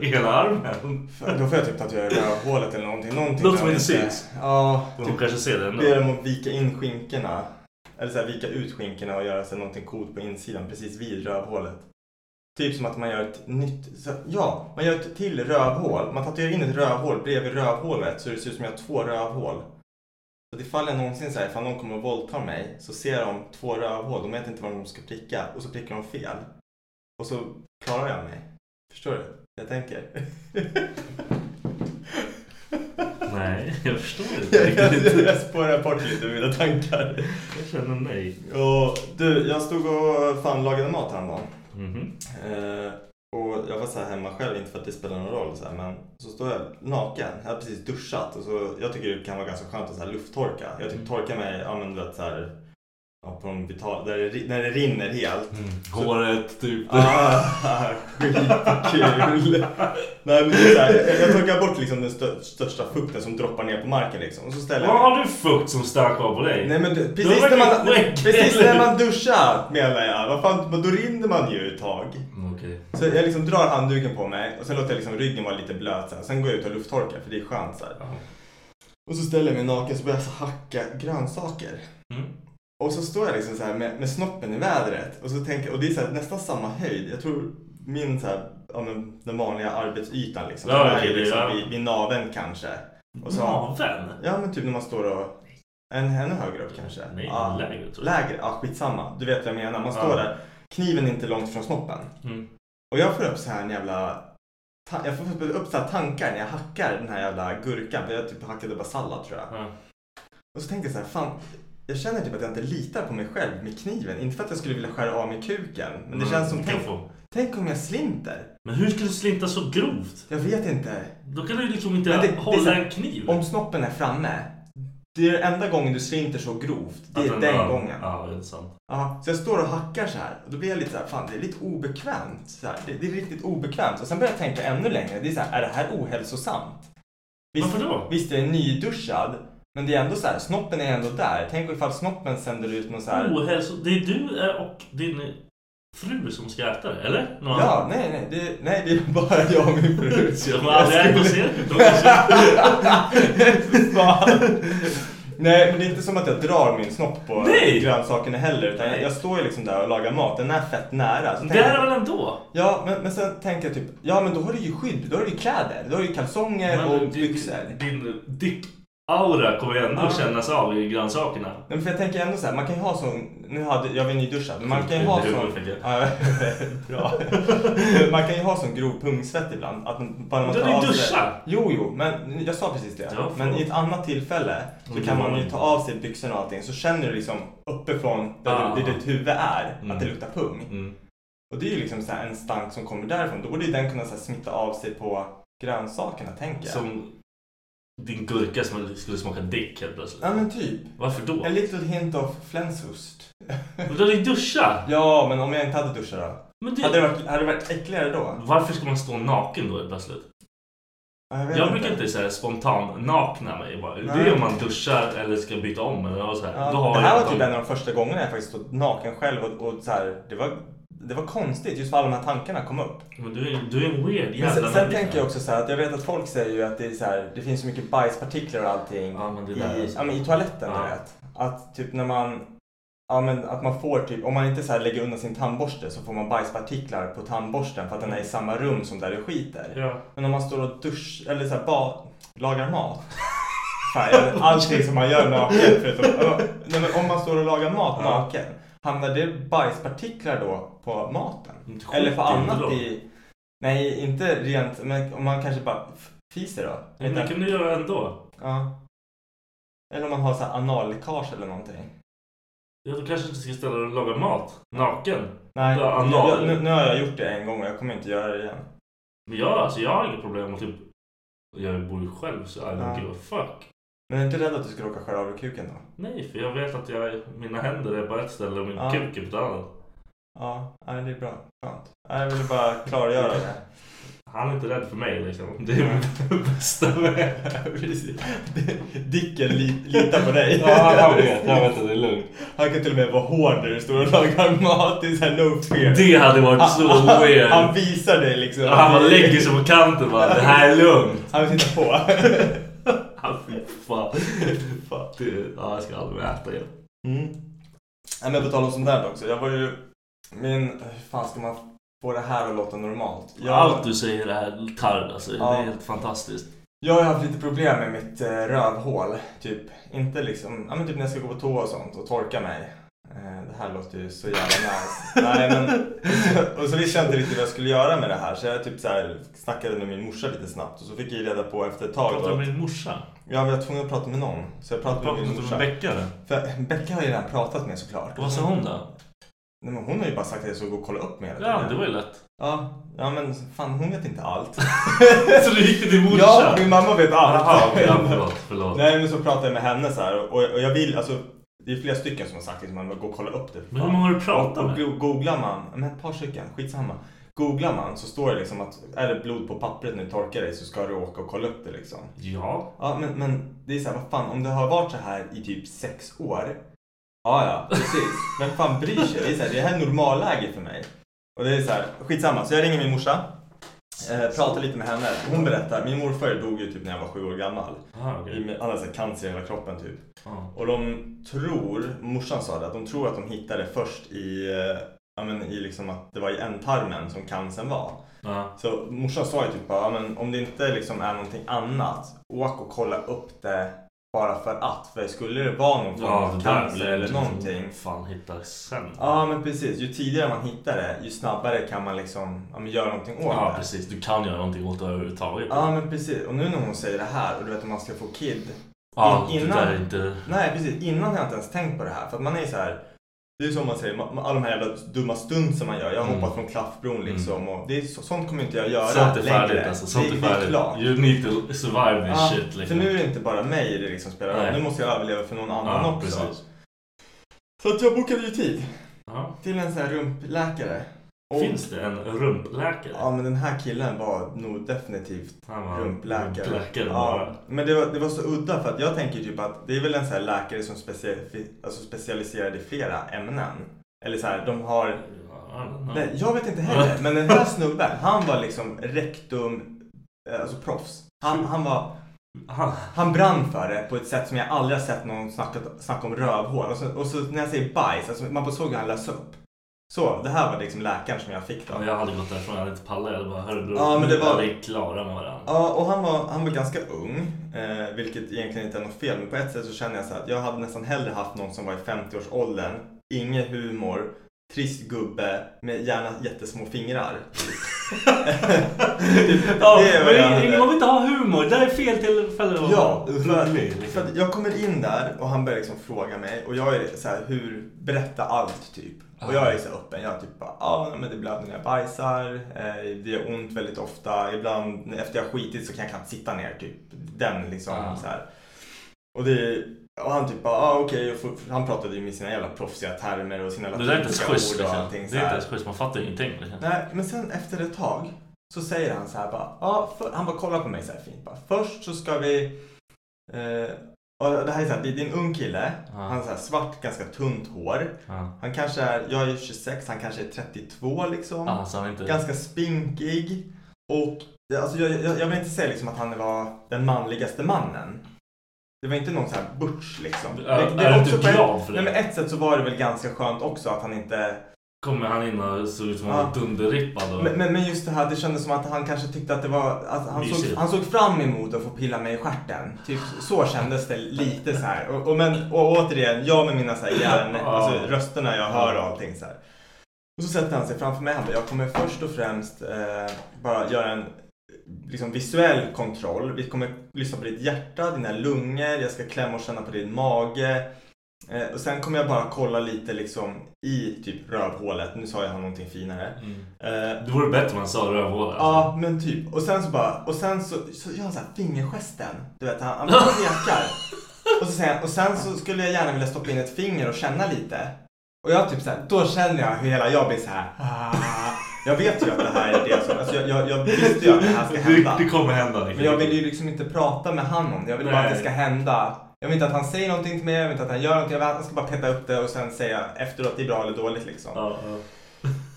Speaker 4: I hela armen.
Speaker 2: Fan, Då får jag typ tatuera rövhålet eller någonting. någonting
Speaker 4: Något som
Speaker 2: där
Speaker 4: inte
Speaker 2: man
Speaker 4: syns.
Speaker 2: Ja,
Speaker 4: Hon
Speaker 2: typ
Speaker 4: kanske ser det ändå.
Speaker 2: be dem att vika in skinkorna. Eller så här, vika ut skinkorna och göra så här, någonting coolt på insidan precis vid rövhålet. Typ som att man gör ett nytt, så, ja, man gör ett till rövhål. Man tatuerar in ett rövhål bredvid rövhålet så det ser ut som jag har två rövhål. Så att ifall jag någonsin säger ifall någon kommer och våldtar mig så ser de två rövhål, de vet inte var de ska pricka och så prickar de fel. Och så klarar jag mig. Förstår du? Jag tänker.
Speaker 4: Nej, jag förstår inte
Speaker 2: jag, jag,
Speaker 4: riktigt.
Speaker 2: jag spårar bort lite mina tankar.
Speaker 4: Jag känner nej.
Speaker 2: Och, du, jag stod och fan lagade mat häromdagen.
Speaker 4: Mhm.
Speaker 2: Eh, och jag var så här hemma själv, inte för att det spelar någon roll så här, men så står jag naken. Jag har precis duschat och så, jag tycker det kan vara ganska skönt att så här lufttorka. Jag typ torkar mig, ja men du vet så här Ja, på de vital, där det, ri- när det rinner helt.
Speaker 4: Mm.
Speaker 1: Mm. Håret, typ.
Speaker 2: Ah, skitkul! Nej men det är så här, jag torkar bort liksom den stö- största fukten som droppar ner på marken liksom. Och så ställer jag
Speaker 4: Vad
Speaker 2: mig.
Speaker 4: har du fukt som stank av på dig?
Speaker 2: Nej men du,
Speaker 4: Det
Speaker 2: precis,
Speaker 4: var
Speaker 2: när man,
Speaker 4: äckligt.
Speaker 2: precis när man duschar menar jag. Vad fan, men då rinner man ju ett tag.
Speaker 4: Mm, Okej.
Speaker 2: Så jag liksom drar handduken på mig och sen låter jag liksom ryggen vara lite blöt så här. Sen går jag ut och lufttorkar för det är skönt så här.
Speaker 4: Ja.
Speaker 2: Och så ställer jag mig naken så börjar jag så hacka grönsaker.
Speaker 4: Mm.
Speaker 2: Och så står jag liksom så här med, med snoppen i vädret och så tänker och det är så här, nästan samma höjd. Jag tror min så här, ja, men, den vanliga arbetsytan liksom.
Speaker 4: Ja,
Speaker 2: den är
Speaker 4: okej,
Speaker 2: ju
Speaker 4: det-
Speaker 2: liksom
Speaker 4: ja.
Speaker 2: vid, vid naveln kanske. Och så,
Speaker 4: Naveln?
Speaker 2: Ja men typ när man står och en, ännu högre upp kanske.
Speaker 4: Nej,
Speaker 2: ja,
Speaker 4: lägre tror jag.
Speaker 2: lägre. Ja skitsamma. Du vet vad jag menar. Man
Speaker 4: Ja.
Speaker 2: står där. Kniven är inte långt från snoppen.
Speaker 4: Mm.
Speaker 2: Och jag får upp så här en jävla... ta- Jag får upp så här tankar när jag hackar den här jävla gurkan. För jag typ hackade bara sallad tror jag.
Speaker 4: Ja.
Speaker 2: Och så tänkte jag så här, fan. Jag känner typ att jag inte litar på mig själv med kniven. Inte för att jag skulle vilja skära av mig kuken. Men det
Speaker 4: Mm,
Speaker 2: känns som,
Speaker 4: kan
Speaker 2: tänk,
Speaker 4: få.
Speaker 2: tänk om jag slinter?
Speaker 4: Men hur ska du slinta så grovt?
Speaker 2: Jag vet inte.
Speaker 4: Då kan du liksom inte
Speaker 2: Men det- det är så
Speaker 4: hålla
Speaker 2: här-
Speaker 4: en kniv.
Speaker 2: Om snoppen är framme. Det är den enda gången du slinter så grovt. Det
Speaker 4: Att
Speaker 2: är
Speaker 4: den-
Speaker 2: den
Speaker 4: ja,
Speaker 2: gången.
Speaker 4: Ja, det är sant.
Speaker 2: Ja, så jag står och hackar så här och då blir jag lite så här, fan det är lite obekvämt. Så här. Det, det är riktigt obekvämt. Och sen börjar jag tänka ännu längre, det är så här, är det här ohälsosamt? Visst,
Speaker 4: Varför då?
Speaker 2: visst jag är nyduschad, men det är ändå så här, snoppen är ändå där. Tänk ifall snoppen sänder ut någon så här...
Speaker 4: Ohälso... Det är du är och din fru som ska äta det, eller? Någon annan?
Speaker 2: Ja, nej, nej, det, nej, det är bara jag och min fru.
Speaker 4: Så jag har aldrig ätit och ser det.
Speaker 2: Fan. Nej, men det är inte som att jag drar min snopp på
Speaker 4: Nej.
Speaker 2: grönsakerna heller. Utan jag, jag står ju liksom där och lagar mat. Den är fett nära. Så tänker
Speaker 4: Det
Speaker 2: jag-
Speaker 4: är väl ändå?
Speaker 2: Ja, men, men sen tänker jag typ, ja men då har du ju skydd, då har du ju kläder, då har du ju kalsonger
Speaker 4: Men
Speaker 2: och
Speaker 4: din-
Speaker 2: byxor.
Speaker 4: Din dick-aura kommer ju ändå
Speaker 2: Ja.
Speaker 4: kännas av i grönsakerna.
Speaker 2: Nej, men för jag tänker ändå så här, man kan ju ha sån, nu hade, jag var ju nyduschad, men man kan ju
Speaker 4: Sjukt
Speaker 2: ha
Speaker 4: huvud
Speaker 2: sån...
Speaker 4: fick jag.
Speaker 2: Ja, bra. man kan ju ha sån grov pungsvett ibland. Att man, bara när man
Speaker 4: Du
Speaker 2: tar
Speaker 4: hade
Speaker 2: av
Speaker 4: ju
Speaker 2: sig-
Speaker 4: duschat.
Speaker 2: Jo, jo, men jag sa precis det.
Speaker 4: Ja, förlåt.
Speaker 2: men i ett annat tillfälle så
Speaker 4: Mm,
Speaker 2: kan
Speaker 4: det
Speaker 2: man
Speaker 4: var
Speaker 2: ju
Speaker 4: det.
Speaker 2: ta av sig byxorna och allting så känner du liksom uppifrån där,
Speaker 4: Ah.
Speaker 2: du, där ditt huvud är
Speaker 4: Mm.
Speaker 2: att det luktar pung.
Speaker 4: Mm.
Speaker 2: Och det är ju liksom så här en stank som kommer därifrån. Då borde ju den kunna så här smitta av sig på grönsakerna, tänker jag.
Speaker 4: Som din gurka som skulle smaka dick helt plötsligt.
Speaker 2: Ja men typ.
Speaker 4: Varför då?
Speaker 2: A little hint of flenswurst.
Speaker 4: Men Du hade ju duschat!
Speaker 2: Ja, men om jag inte hade duschat då?
Speaker 4: Men det...
Speaker 2: Hade det varit, hade det varit äckligare då?
Speaker 4: Varför ska man stå naken då helt plötsligt?
Speaker 2: Ja, vet
Speaker 4: Jag brukar inte säga spontan nakna mig bara. Det
Speaker 2: Nej.
Speaker 4: är om man duschar eller ska byta om eller något så här.
Speaker 2: Ja,
Speaker 4: Då har
Speaker 2: det här
Speaker 4: jag
Speaker 2: var typ
Speaker 4: de-
Speaker 2: en av de första gångerna jag faktiskt stod naken själv och, och så här, det var, det var konstigt just för alla de här tankarna kom upp.
Speaker 4: Men du är, du är en weird
Speaker 2: Men
Speaker 4: jävla
Speaker 2: sen, sen tänker jag också så här att jag vet att folk säger ju att det är så här, det finns så mycket bajspartiklar och allting
Speaker 4: Ja, men det där
Speaker 2: i,
Speaker 4: alltså.
Speaker 2: ja, men i toaletten
Speaker 4: Ja.
Speaker 2: du vet. Att typ när man, ja men att man får typ, om man inte så här lägger undan sin tandborste så får man bajspartiklar på tandborsten för att den är i samma rum som där du skiter.
Speaker 4: Ja.
Speaker 2: Men om man står och dusch eller så här, ba, lagar mat. Fan, jag- Allting som man gör naken förutom, alltså, nej, men om man står och lagar mat
Speaker 4: Ja.
Speaker 2: naken. Hamnar det bajspartiklar då på maten?
Speaker 4: Inte skit
Speaker 2: Eller på
Speaker 4: i
Speaker 2: annat
Speaker 4: det då.
Speaker 2: i... Nej, inte rent, men om man kanske bara f- fiser då?
Speaker 4: Men det kan du göra ändå.
Speaker 2: Ja. Eller om man har så här analläckage eller någonting.
Speaker 4: Ja, du kanske inte ska ställa dig och laga mat naken.
Speaker 2: Nej,
Speaker 4: Ja, anal.
Speaker 2: jag, nu, nu har jag gjort det en gång och jag kommer inte göra det igen.
Speaker 4: Men jag, alltså, jag har inget problem med typ... Jag bor ju själv så I don't
Speaker 2: Ja.
Speaker 4: give a fuck.
Speaker 2: Men är du inte rädd att du ska råka skära av dig kuken då?
Speaker 4: Nej, för jag vet att jag, mina händer är på ett ställe och min
Speaker 2: Ja.
Speaker 4: kuk är på ett annat.
Speaker 2: Ja, nej, det är bra. Skönt. Nej, Jag ville bara klargöra det.
Speaker 4: Han är inte rädd för mig liksom. Det är min bästa vän.
Speaker 2: Precis. Dicken li, litar på dig.
Speaker 4: Ja, han vet. Han vet att det är lugnt.
Speaker 2: Han kan till och med vara hård när du står och lagar mat. Det är såhär no fear.
Speaker 4: Det hade varit så weird.
Speaker 2: Han visar dig liksom.
Speaker 4: Han bara lägger sig på kanten bara. Det här är lugnt.
Speaker 2: Han vill titta på.
Speaker 4: Han fy fan. Fan, det- Ja, jag ska aldrig mer äta igen.
Speaker 2: Mm. Nej, men på tal om sånt där också. Jag var ju... Min... Hur fan ska man få det här att låta normalt? Jag,
Speaker 4: Allt du säger är tarv alltså.
Speaker 2: Ja.
Speaker 4: Det är helt fantastiskt.
Speaker 2: jag har ju haft lite problem med mitt eh, rövhål. Typ inte liksom... Ja men typ när jag ska gå på toa och sånt och torka mig. Eh, det här låter ju så jävla nice. Nej men... Och så visste jag inte riktigt vad jag skulle göra med det här. Så jag typ så här snackade med min morsa lite snabbt. Och så fick jag ju reda på efter ett tag.
Speaker 4: Pratar du
Speaker 2: att-
Speaker 4: med din morsa?
Speaker 2: Ja, vi var tvungna att prata med någon. Så jag pratade
Speaker 4: Pratar
Speaker 2: med min
Speaker 4: du med
Speaker 2: morsa.
Speaker 4: Becka då?
Speaker 2: För Becka har jag ju redan pratat med såklart.
Speaker 4: Vad sa hon då?
Speaker 2: Nej, men hon har ju bara sagt att jag ska gå och kolla upp mig hela
Speaker 4: Ja,
Speaker 2: tiden.
Speaker 4: det var ju lätt.
Speaker 2: Ja, ja men fan hon vet inte allt.
Speaker 4: Så du gick till din morsa?
Speaker 2: ja, min mamma vet allt.
Speaker 4: Jaha, ja, förlåt. förlåt.
Speaker 2: Nej men så pratade jag med henne så här och, och jag vill, alltså Det är flera stycken som har sagt liksom, man går och kollar upp det.
Speaker 4: Men hur många har du pratat
Speaker 2: och, och
Speaker 4: med?
Speaker 2: go- googlar man, men ett par stycken, skitsamma. Googlar man så står det liksom att är det blod på pappret när du torkar dig så ska du åka och kolla upp det liksom.
Speaker 4: Ja.
Speaker 2: Ja, men, men det är så här, vad fan, om det har varit så här i typ sex år. Ja, ja, precis. Vem fan bryr sig? Det, är så här, det här är normalläge för mig. Och det är så här, skitsamma. Så jag ringer min morsa, eh, pratar lite med henne. Hon berättar, min morfar dog ju typ när jag var sju år gammal.
Speaker 4: Ah, okej.
Speaker 2: I- Han hade så här cancer i hela kroppen typ.
Speaker 4: Ja.
Speaker 2: Och de tror, morsan sa det, att de tror att de hittade först i, eh, ja men i liksom att det var i ändtarmen som cancern var.
Speaker 4: Ja.
Speaker 2: Så morsan sa ju typ bara, "Ja, men om det inte liksom är någonting annat, åk och kolla upp det bara för att. För skulle det vara någon form
Speaker 4: Ja,
Speaker 2: av
Speaker 4: det där
Speaker 2: cancer
Speaker 4: blir
Speaker 2: eller
Speaker 4: liksom-
Speaker 2: någonting.
Speaker 4: Fan hittar sen.
Speaker 2: Ja men precis, ju tidigare man hittar det, ju snabbare kan man liksom ja, men göra någonting åt
Speaker 4: Ja,
Speaker 2: det.
Speaker 4: precis. Du kan göra någonting åt det överhuvudtaget.
Speaker 2: Ja men precis, och nu när hon säger det här och du vet om man ska få kid.
Speaker 4: Ja,
Speaker 2: in-
Speaker 4: det där är inte...
Speaker 2: Nej precis, innan har jag inte ens tänkt på det här. För att man är så här. Det är ju som man säger, ma- ma- alla de här jävla dumma stunt som man gör. Jag har
Speaker 4: Mm.
Speaker 2: hoppat från klaffbron liksom. Och det är, så, sånt kommer inte jag göra
Speaker 4: Sånt är färdigt
Speaker 2: längre.
Speaker 4: alltså. Sånt
Speaker 2: det,
Speaker 4: är
Speaker 2: Det är
Speaker 4: färdigt.
Speaker 2: klart.
Speaker 4: You need to survive this
Speaker 2: Ja,
Speaker 4: shit liksom.
Speaker 2: För nu är det inte bara mig det liksom spelar
Speaker 4: Nej.
Speaker 2: roll. Nu måste jag överleva för någon annan
Speaker 4: ja,
Speaker 2: också.
Speaker 4: precis.
Speaker 2: Så att jag bokade ju tid
Speaker 4: Ja.
Speaker 2: till en sån här rumpläkare. Och-
Speaker 4: Finns det en rumpläkare?
Speaker 2: Ja men den här killen var nog definitivt
Speaker 4: Han var
Speaker 2: rumpläkare.
Speaker 4: rumpläkare
Speaker 2: ja,
Speaker 4: bara.
Speaker 2: men det var, det var så udda för att jag tänker typ att det är väl en sån här läkare som specifi- alltså specialiserad i flera ämnen. Eller så här, de har
Speaker 4: Ja, I don't know.
Speaker 2: Nej, jag vet inte heller. Men den här snubben, han var liksom rektum, eh, alltså proffs. Han, han var, han, han brann för det på ett sätt som jag aldrig har sett någon snacka, snacka om rövhål. Och så, och så när jag säger bajs, alltså man bara såg hur han lös upp. Så, det här var liksom läkaren som jag fick då.
Speaker 4: Ja, Jag hade gått därifrån, jag hade inte pallat. Jag hade bara, hörru du,
Speaker 2: Ja, men det
Speaker 4: vi
Speaker 2: var-
Speaker 4: är klara med varandra.
Speaker 2: Ja, och han var, han var ganska ung, eh, vilket egentligen inte är något fel. Men på ett sätt så känner jag så här att jag hade nästan hellre haft någon som var i 50-årsåldern, ingen humor, trist gubbe med gärna jättesmå fingrar.
Speaker 4: Ja,
Speaker 2: det är vad jag
Speaker 4: men
Speaker 2: hade.
Speaker 4: ingen- man vill inte ha humor. Det här är fel tillfälle att vara
Speaker 2: Ja, för att,
Speaker 4: rolig.
Speaker 2: för
Speaker 4: Liksom.
Speaker 2: att jag kommer in där och han börjar liksom fråga mig och jag är så här, hur, berätta allt typ. Och jag är så här öppen, jag typ bara, ja ah, men det blöder när jag bajsar, eh, det gör ont väldigt ofta, ibland efter jag har skitit så kan jag knappt sitta ner typ. Den liksom
Speaker 4: Ah.
Speaker 2: så här. Och det och han typ bara, ah, okej, och f- han pratade ju med sina jävla proffsiga termer och sina
Speaker 4: Det där är inte ens
Speaker 2: latinska
Speaker 4: schysst.
Speaker 2: ord och
Speaker 4: Liksom. Det är
Speaker 2: allting.
Speaker 4: inte
Speaker 2: så här.
Speaker 4: ens schysst. Man fattar ingenting. Liksom.
Speaker 2: Nej, men sen efter ett tag så säger han så här bara, ja, för, han bara kollar på mig så här fint bara, först så ska vi, eh, och det här är så här, det det är en ung kille,
Speaker 4: Ja.
Speaker 2: han har så här svart, ganska tunt hår,
Speaker 4: Ja.
Speaker 2: han kanske är, jag är 26, han kanske är 32 liksom,
Speaker 4: Alltså, han är inte...
Speaker 2: ganska spinkig och ja, alltså, jag, jag, jag vill inte säga liksom att han var den manligaste mannen. Det var inte någon så här butch liksom.
Speaker 4: Är- är
Speaker 2: var
Speaker 4: du
Speaker 2: på ett-
Speaker 4: glad för det?
Speaker 2: Nej men ett sätt så var det väl ganska skönt också att han inte
Speaker 4: Kommer han in och ser ut som en
Speaker 2: Ja.
Speaker 4: dunderrippad. Och...
Speaker 2: Men, men, men just det här, det kändes som att han kanske tyckte att det var... Att han, såg,
Speaker 4: Mysigt.
Speaker 2: han såg fram emot att få pilla mig i stjärten. Typ så kändes det lite så här. Och, och, men, och återigen, jag med mina så här hjärn,
Speaker 4: Ja.
Speaker 2: alltså rösterna jag hör och allting så här. Och så sätter han sig framför mig. Han bara, jag kommer först och främst eh, bara göra en liksom, visuell kontroll. Vi kommer lyssna på ditt hjärta, dina lungor, jag ska klämma och känna på din mage. Eh, och sen kommer jag bara kolla lite liksom i typ rövhålet. Nu sa jag han någonting finare.
Speaker 4: Mm.
Speaker 2: Eh,
Speaker 4: Det vore bättre om han sa rövhål. alltså.
Speaker 2: Ja, men typ. Och sen så bara, och sen så, så gör han så här fingergesten. Du vet, han, han bara pekar. Och, så säger han, och sen så skulle jag gärna vilja stoppa in ett finger och känna lite. Och jag typ så här, då känner jag hur hela jag blir så här. "Ah." Jag vet ju att det här är det som, alltså jag, jag, jag visste ju att det här ska hända.
Speaker 4: Det, det kommer hända. Liksom.
Speaker 2: Men jag vill ju liksom inte prata med han om det. Jag vill bara
Speaker 4: Nej.
Speaker 2: att det ska hända. Jag vill inte att han säger någonting till mig, jag vill inte att han gör någonting. Jag vill att han ska bara peta upp det och sen säga efteråt det är bra eller dåligt liksom.
Speaker 4: Ja, ja.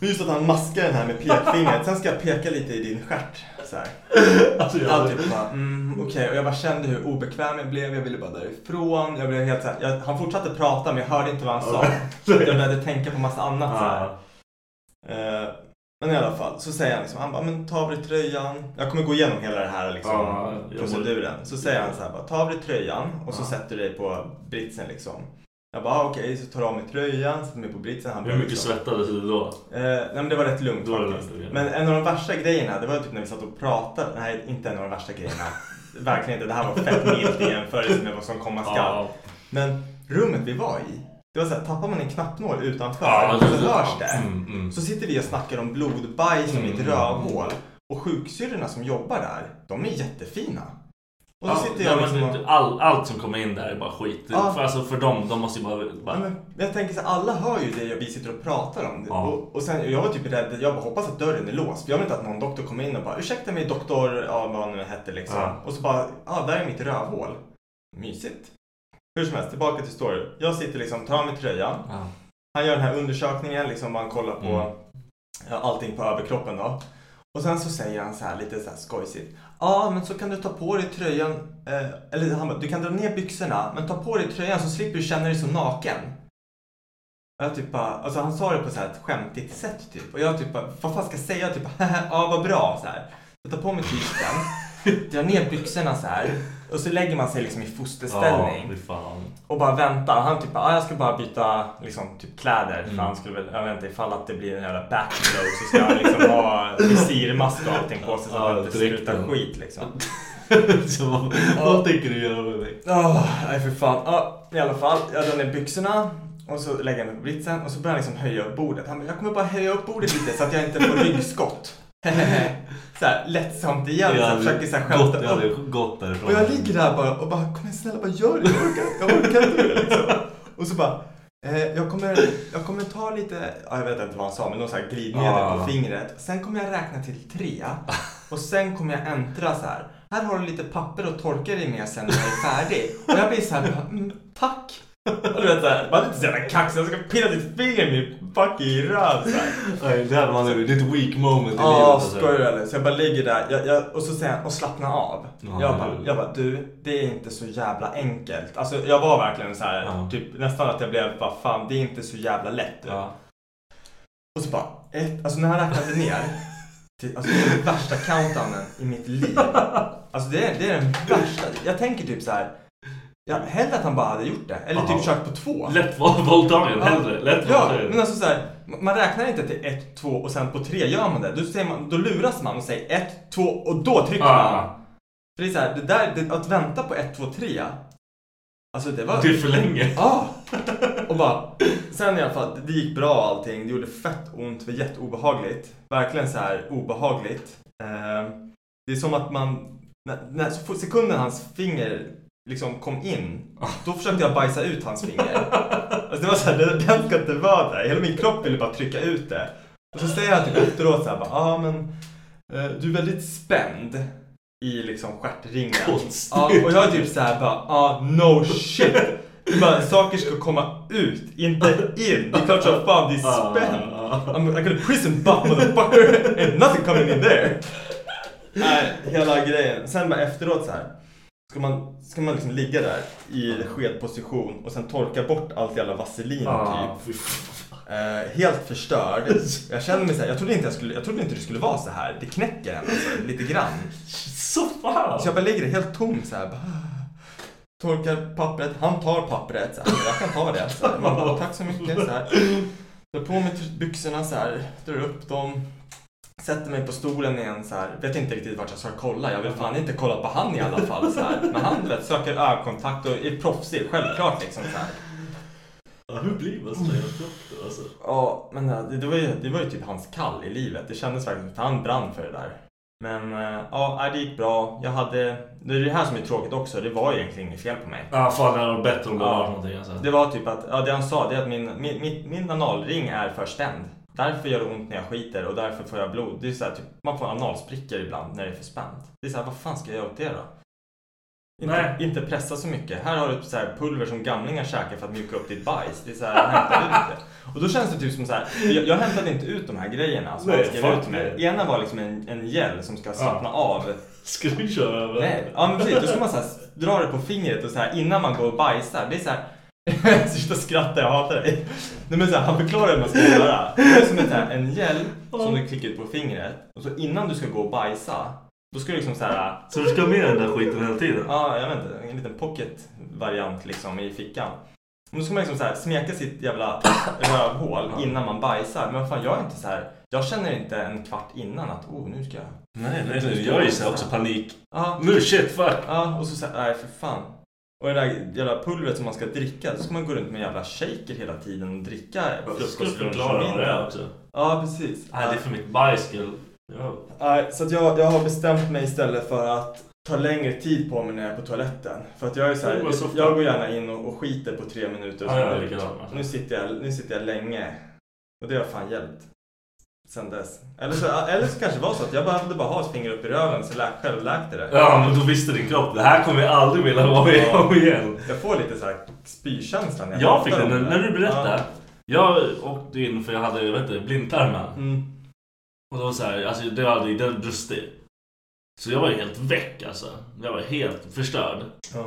Speaker 2: Men Just att han maskar den här med pekfingret. Sen ska jag peka lite i din stjärt. Så här.
Speaker 4: Alltså, jag...
Speaker 2: Allt typ bara, mm, okej. Och jag bara kände hur obekväm jag blev. Jag ville bara därifrån. Jag blev helt så här, jag, han fortsatte prata men jag hörde inte vad han sa. Jag började tänka på massa annat så här.
Speaker 4: Ja.
Speaker 2: Eh, men i alla fall, så säger han liksom, han bara, men ta av dig tröjan. Jag kommer gå igenom hela den här liksom,
Speaker 4: Ja, jag
Speaker 2: proceduren. Så säger han så här, bara, ta av dig tröjan och så
Speaker 4: Ja.
Speaker 2: sätter du dig på britsen liksom. Jag bara, ah, okej, så tar du av mig tröjan, sätter mig på britsen. Han bara,
Speaker 4: Hur mycket
Speaker 2: liksom,
Speaker 4: svettades du då?
Speaker 2: Eh, nej men det var rätt lugnt
Speaker 4: Då var det
Speaker 2: faktiskt.
Speaker 4: lugnt, okej.
Speaker 2: Men en av de värsta grejerna, det var typ när vi satt och pratade. Nej, inte en av de värsta grejerna. Verkligen inte. Det här var fett milt i jämförelse med vad som komma skall.
Speaker 4: Ja.
Speaker 2: Men rummet vi var i, det var så här, tappar man en knappnål utanför
Speaker 4: Ja,
Speaker 2: så
Speaker 4: det-
Speaker 2: hörs det.
Speaker 4: Mm, mm.
Speaker 2: Så sitter vi och snackar om blodbajs som ett rövhål. Och sjuksyrrorna som jobbar där, de är jättefina. Och så
Speaker 4: Ja,
Speaker 2: sitter
Speaker 4: nej,
Speaker 2: jag
Speaker 4: men
Speaker 2: liksom och...
Speaker 4: du- all, allt som kommer in där är bara skit.
Speaker 2: Ja.
Speaker 4: För, alltså, för dem, de måste ju bara... bara
Speaker 2: Ja, men jag tänker så här, alla hör ju det vi sitter och pratar om.
Speaker 4: Ja.
Speaker 2: Och, och sen, jag var typ rädd, jag bara hoppas att dörren är låst. För jag vill inte att någon doktor kommer in och bara ursäkta mig doktor, ja, vad han nu hette liksom.
Speaker 4: Ja.
Speaker 2: Och så bara, ja där är mitt rövhål. Mysigt. Hur som helst, tillbaka till storyn. Jag sitter liksom, tar av mig tröjan.
Speaker 4: ja.
Speaker 2: Han gör den här undersökningen, liksom man kollar på
Speaker 4: Mm.
Speaker 2: ja, allting på överkroppen då. Och sen så säger han så här lite så här skojsigt. Ja, men så kan du ta på dig tröjan. Eh, eller han bara, du kan dra ner byxorna, men ta på dig tröjan så slipper du känna dig så naken. Och jag typ bara, alltså han sa det på så här ett skämtigt sätt typ. Och jag typ bara, vad fan ska jag säga? Typ ja vad bra så här. Så tar på mig t-shirten, drar ner byxorna så här. Och så lägger man sig liksom i fosterställning.
Speaker 4: Ja, fy fan.
Speaker 2: Och bara väntar. Han typ ah, jag ska bara byta liksom, typ kläder.
Speaker 4: Mm.
Speaker 2: För han skulle väl, jag vet inte, ifall att det blir en jävla backblow så ska han liksom ha visirmask och allting på sig så att
Speaker 4: Ja,
Speaker 2: han inte
Speaker 4: direkt
Speaker 2: sprutar
Speaker 4: då.
Speaker 2: skit liksom.
Speaker 4: Så vad, vad tänker du göra med mig?
Speaker 2: Åh, nej för fan. Ja, I alla fall, jag drar ner byxorna och så lägger jag mig på britsen och så börjar han liksom höja upp bordet. Han bara, jag kommer bara höja upp bordet lite så att jag inte får ryggskott. Såhär lättsamt igen. Så jag liksom. försöker såhär
Speaker 4: gått,
Speaker 2: skämta
Speaker 4: jag hade
Speaker 2: upp.
Speaker 4: gått därifrån.
Speaker 2: Och jag ligger där bara och bara, kom igen snälla bara gör det, jag orkar, jag orkar inte mer", liksom. Och så bara, eh, jag, kommer, jag kommer ta lite, ja, jag vet inte vad han sa, men någon sån här glidmedel
Speaker 4: Ah.
Speaker 2: på fingret. Sen kommer jag räkna till tre och sen kommer jag äntra så här. Här har du lite papper och torka dig med sen när jag är färdig. Och jag blir så här, bara, mm, tack. Och du vet såhär, man är inte så jävla kaxig, jag ska pilla ditt finger i min fucking röv så här.
Speaker 4: Nej, det här var nu ditt weak moment i livet. alltså.
Speaker 2: Ja, skojar du eller? Så jag bara ligger där jag, jag, och så säger han, och slappna av.
Speaker 4: Ja,
Speaker 2: jag, bara,
Speaker 4: eller-
Speaker 2: jag bara, du, det är inte så jävla enkelt. Alltså jag var verkligen så här,
Speaker 4: Ja.
Speaker 2: typ nästan att jag blev bara, fan det är inte så jävla lätt. du.
Speaker 4: Ja.
Speaker 2: Och så bara, ett, alltså när han räknade ner. till- Alltså det är den värsta countdownen i mitt liv. Alltså det är, det är den värsta. Jag tänker typ så här. Ja, hellre att han bara hade gjort det. Eller
Speaker 4: Ja.
Speaker 2: typ kört på två.
Speaker 4: Lätt val- valdagen hellre. Lätt
Speaker 2: Ja,
Speaker 4: valdagen.
Speaker 2: men alltså så här, ma- man räknar inte till 1, 2 och sen på 3 gör man det. Då, säger man, då luras man och säger 1, 2 och då trycker man.
Speaker 4: ah,
Speaker 2: För det är så här, det där, det, att vänta på 1, 2, 3. Alltså det var...
Speaker 4: det är för länge.
Speaker 2: Ja! Och bara... Sen i alla fall, det gick bra och allting. Det gjorde fett ont, det var jätteobehagligt. Verkligen så här obehagligt. Eh, det är som att man... När, när, så fort- sekunden hans finger liksom kom in,
Speaker 4: Ah.
Speaker 2: då försökte jag bajsa ut hans finger. Alltså det var så här, den, den ska inte vara där. Hela min kropp ville bara trycka ut det. Och så säger jag typ efteråt så här, bara, ah, men eh, du är väldigt spänd i liksom stjärtringen.
Speaker 4: Konstigt.
Speaker 2: Ja, och jag är typ så här bara, ah, no shit. Det är bara, saker ska komma ut, inte in. Det är klart som fan det
Speaker 4: Ah,
Speaker 2: är spänt. I'm, I got a prison butt motherfucker and nothing coming in there. Nej, hela grejen. Sen bara efteråt så här. Ska man, ska man liksom ligga där i skedposition och sen torka bort allt jävla vaselin
Speaker 4: Ah,
Speaker 2: typ.
Speaker 4: fy fan.
Speaker 2: Eh, helt förstörd. Jag kände mig så här, jag trodde inte, jag skulle, jag trodde inte det skulle vara så här. Det knäcker en alltså, lite grann.
Speaker 4: Så fan.
Speaker 2: Så jag bara ligger där helt tom så här. Bara, torkar pappret, han tar pappret så här. Jag kan ta det. Så här. Man bara, tack så mycket så här. Drar på mig byxorna så här, drar upp dem. Sätter mig på stolen igen så här. Vet inte riktigt vart jag ska kolla. Jag vill fan inte kolla på han i alla fall så här. Men han du vet, söker ögonkontakt och är proffsig, självklart liksom så här.
Speaker 4: Ja, Hur blir man sådär då? Alltså.
Speaker 2: Ja, men eh, det, det, var ju, det var ju typ hans kall i livet. Det kändes verkligen som att han brann för det där. Men eh, ja, nej, det gick bra. Jag hade... Det är det här som är tråkigt också. Det var ju egentligen inget fel på mig.
Speaker 4: Ah, fan, det hade varit bättre om det
Speaker 2: Ja.
Speaker 4: hade varit någonting. Alltså.
Speaker 2: Det var typ att, ja det han sa det är att min, min, min, min analring är förspänd. Därför gör det ont när jag skiter och därför får jag blod. Det är så här, typ, man får analsprickor ibland när det är för spänt. Det är så här, vad fan ska jag göra åt det då? Inte,
Speaker 4: Nej.
Speaker 2: inte pressa så mycket. Här har du så här pulver som gamlingar käkar för att mjuka upp ditt bajs. Det är så här, hämta ut det. Och då känns det typ som så här, jag, jag hämtade inte ut de här grejerna som
Speaker 4: Nej,
Speaker 2: han skrev
Speaker 4: fuck
Speaker 2: ut till mig.
Speaker 4: nej.
Speaker 2: Ena var liksom en, en gel som ska slappna av
Speaker 4: Ska du köra över?
Speaker 2: Nej, ja men precis. Då ska man så här, dra det på fingret och så här, innan man går och bajsar. Det är så här... Sluta skratta, jag hatar dig. Nej, men så här, han förklarar hur man ska göra. Det är som en, så här, en gel som du klickar ut på fingret. Och så innan du ska gå och bajsa, då ska du liksom så här...
Speaker 4: Så du ska ha med den där skiten hela tiden?
Speaker 2: Ja, jag vet inte. En liten pocketvariant liksom i fickan. Men då ska man liksom så här smeka sitt jävla rövhål innan man bajsar. Men vad fan, jag är inte så här... Jag känner inte en kvart innan att oh, nu ska jag...
Speaker 4: Nej, nej, nej. Jag är ju såhär också panik.
Speaker 2: Ja,
Speaker 4: Nu shit, fuck.
Speaker 2: Ja, och så säger nej för fan. Och det där jävla pulvret som man ska dricka, då ska man gå runt med en jävla shaker hela tiden och dricka
Speaker 4: Jag skulle
Speaker 2: frukost, lunch
Speaker 4: förklara
Speaker 2: och
Speaker 4: vad det är
Speaker 2: middag.
Speaker 4: också.
Speaker 2: Ja, precis.
Speaker 4: Nej, det är för mitt bajs skull. Ja.
Speaker 2: Nej, så att jag, jag har bestämt mig istället för att tar längre tid på mig när jag är på toaletten. För att jag är så
Speaker 4: Det
Speaker 2: här,
Speaker 4: var så
Speaker 2: jag går gärna in och, och skiter på tre minuter. Och
Speaker 4: Oh,
Speaker 2: så
Speaker 4: Ja, jag
Speaker 2: bara,
Speaker 4: är likadan, alltså.
Speaker 2: nu, sitter jag, nu sitter jag länge. Och det har fan hjälpt. Sen dess. Eller så, eller så kanske det var så att jag behövde bara ha ett finger upp i röven så lä- självläkte det.
Speaker 4: Ja, men då visste din kropp. Det här kommer jag aldrig vilja vara med om igen.
Speaker 2: Jag får lite så här spykänsla när jag
Speaker 4: Jag fick
Speaker 2: pratar
Speaker 4: den
Speaker 2: om
Speaker 4: när,
Speaker 2: det.
Speaker 4: när du berättade.
Speaker 2: Ja.
Speaker 4: Jag åkte in för jag hade vet du, blindtarmen.
Speaker 2: Mm.
Speaker 4: Och då var det så här, alltså det hade den brustit. Så jag var ju helt väck alltså. Jag var helt förstörd.
Speaker 2: Ja.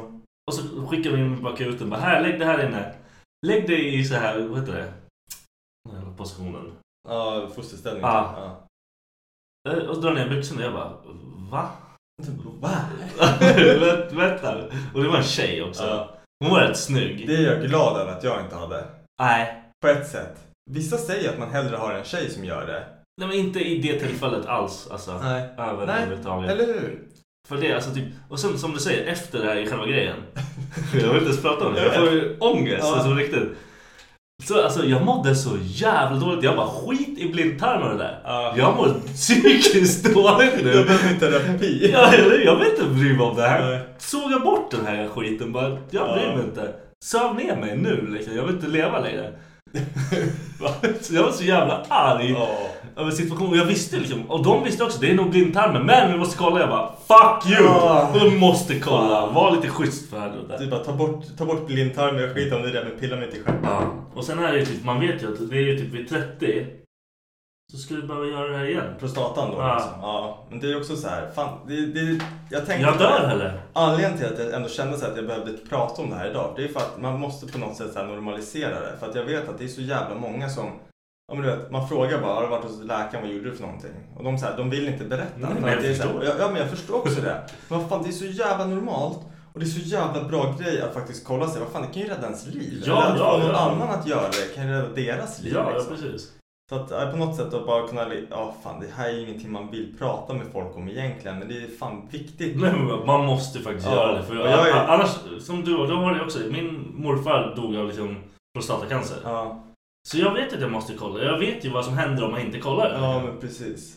Speaker 4: Och så skickade vi in bak ut den bara här, lägg det här inne. Lägg det i så här, vad heter det? Den här positionen.
Speaker 2: ja, fosterställning. typ.
Speaker 4: Ja.
Speaker 2: Ja.
Speaker 4: Eh, Och drar ner byxorna och jag bara, va?
Speaker 2: Va?
Speaker 4: Vänt- Vänta. Och det var en tjej också.
Speaker 2: Ja.
Speaker 4: Hon var rätt snygg.
Speaker 2: Det är jag glad över att jag inte hade.
Speaker 4: Nej.
Speaker 2: På ett sätt. Vissa säger att man hellre har en tjej som gör det.
Speaker 4: Nej men inte i det tillfället alls alltså.
Speaker 2: Nej.
Speaker 4: Överhuvudtaget.
Speaker 2: Eller hur?
Speaker 4: För det alltså typ, och sen som du säger, efter det här i själva grejen. jag vill inte ens prata om det, jag får ju ångest
Speaker 2: Ja.
Speaker 4: alltså riktigt. Så alltså jag mådde så jävla dåligt, jag bara skit i blindtarmen och det där.
Speaker 2: Ja.
Speaker 4: Jag mår psykiskt dåligt
Speaker 2: Jag
Speaker 4: nu.
Speaker 2: behöver inte terapi.
Speaker 4: Ja, eller, jag vill inte bry mig om det
Speaker 2: Nej.
Speaker 4: här. Såga bort den här skiten bara. Jag bryr
Speaker 2: Ja.
Speaker 4: mig inte. Söv ner mig nu liksom. Jag vill inte leva längre. så jag var så jävla arg
Speaker 2: Ja.
Speaker 4: över situationen. Jag visste liksom, och de visste också, det är nog blindtarmen. Men vi måste kolla. Jag bara, fuck you!
Speaker 2: Ja.
Speaker 4: Vi måste kolla. Var lite schysst för helvete.
Speaker 2: Du bara Typ ta bort, ta bort blindtarmen, jag skiter om det där men pilla mig inte i stjärten.
Speaker 4: Ja. Och sen är det ju typ, man vet ju att det är ju typ vid 30. Så skulle du behöva göra det här igen.
Speaker 2: Prostatan då
Speaker 4: Ja.
Speaker 2: liksom. Ja. Men det är också så här, fan, det, det, jag tänkte
Speaker 4: Jag dör heller.
Speaker 2: Anledningen till att jag ändå kände så här att jag behövde prata om det här idag, det är för att man måste på något sätt så här normalisera det. För att jag vet att det är så jävla många som, ja men du vet, man frågar bara, har du varit hos läkaren, vad gjorde du för någonting? Och de, så här, de vill inte berätta.
Speaker 4: Nej,
Speaker 2: För
Speaker 4: men
Speaker 2: att
Speaker 4: jag
Speaker 2: det är så här-
Speaker 4: förstår.
Speaker 2: ja, ja men jag förstår också det. Men vad fan, det är så jävla normalt. Och det är så jävla bra grej att faktiskt kolla sig, vad fan det kan ju rädda ens liv.
Speaker 4: Ja,
Speaker 2: Eller att
Speaker 4: ja,
Speaker 2: få någon
Speaker 4: ja.
Speaker 2: annan att göra det kan ju rädda deras liv.
Speaker 4: Ja, ja
Speaker 2: liksom.
Speaker 4: precis.
Speaker 2: Så att ja, på något sätt att bara kunna, li- ja fan det här är ju ingenting man vill prata med folk om egentligen. Men det är fan viktigt.
Speaker 4: Nej, men man måste faktiskt
Speaker 2: Ja.
Speaker 4: göra det. För
Speaker 2: Och jag är-
Speaker 4: Annars, som du, då har det också. Min morfar dog av liksom prostatacancer.
Speaker 2: Ja.
Speaker 4: Så jag vet att jag måste kolla. Jag vet ju vad som händer om man inte kollar.
Speaker 2: Ja, men precis.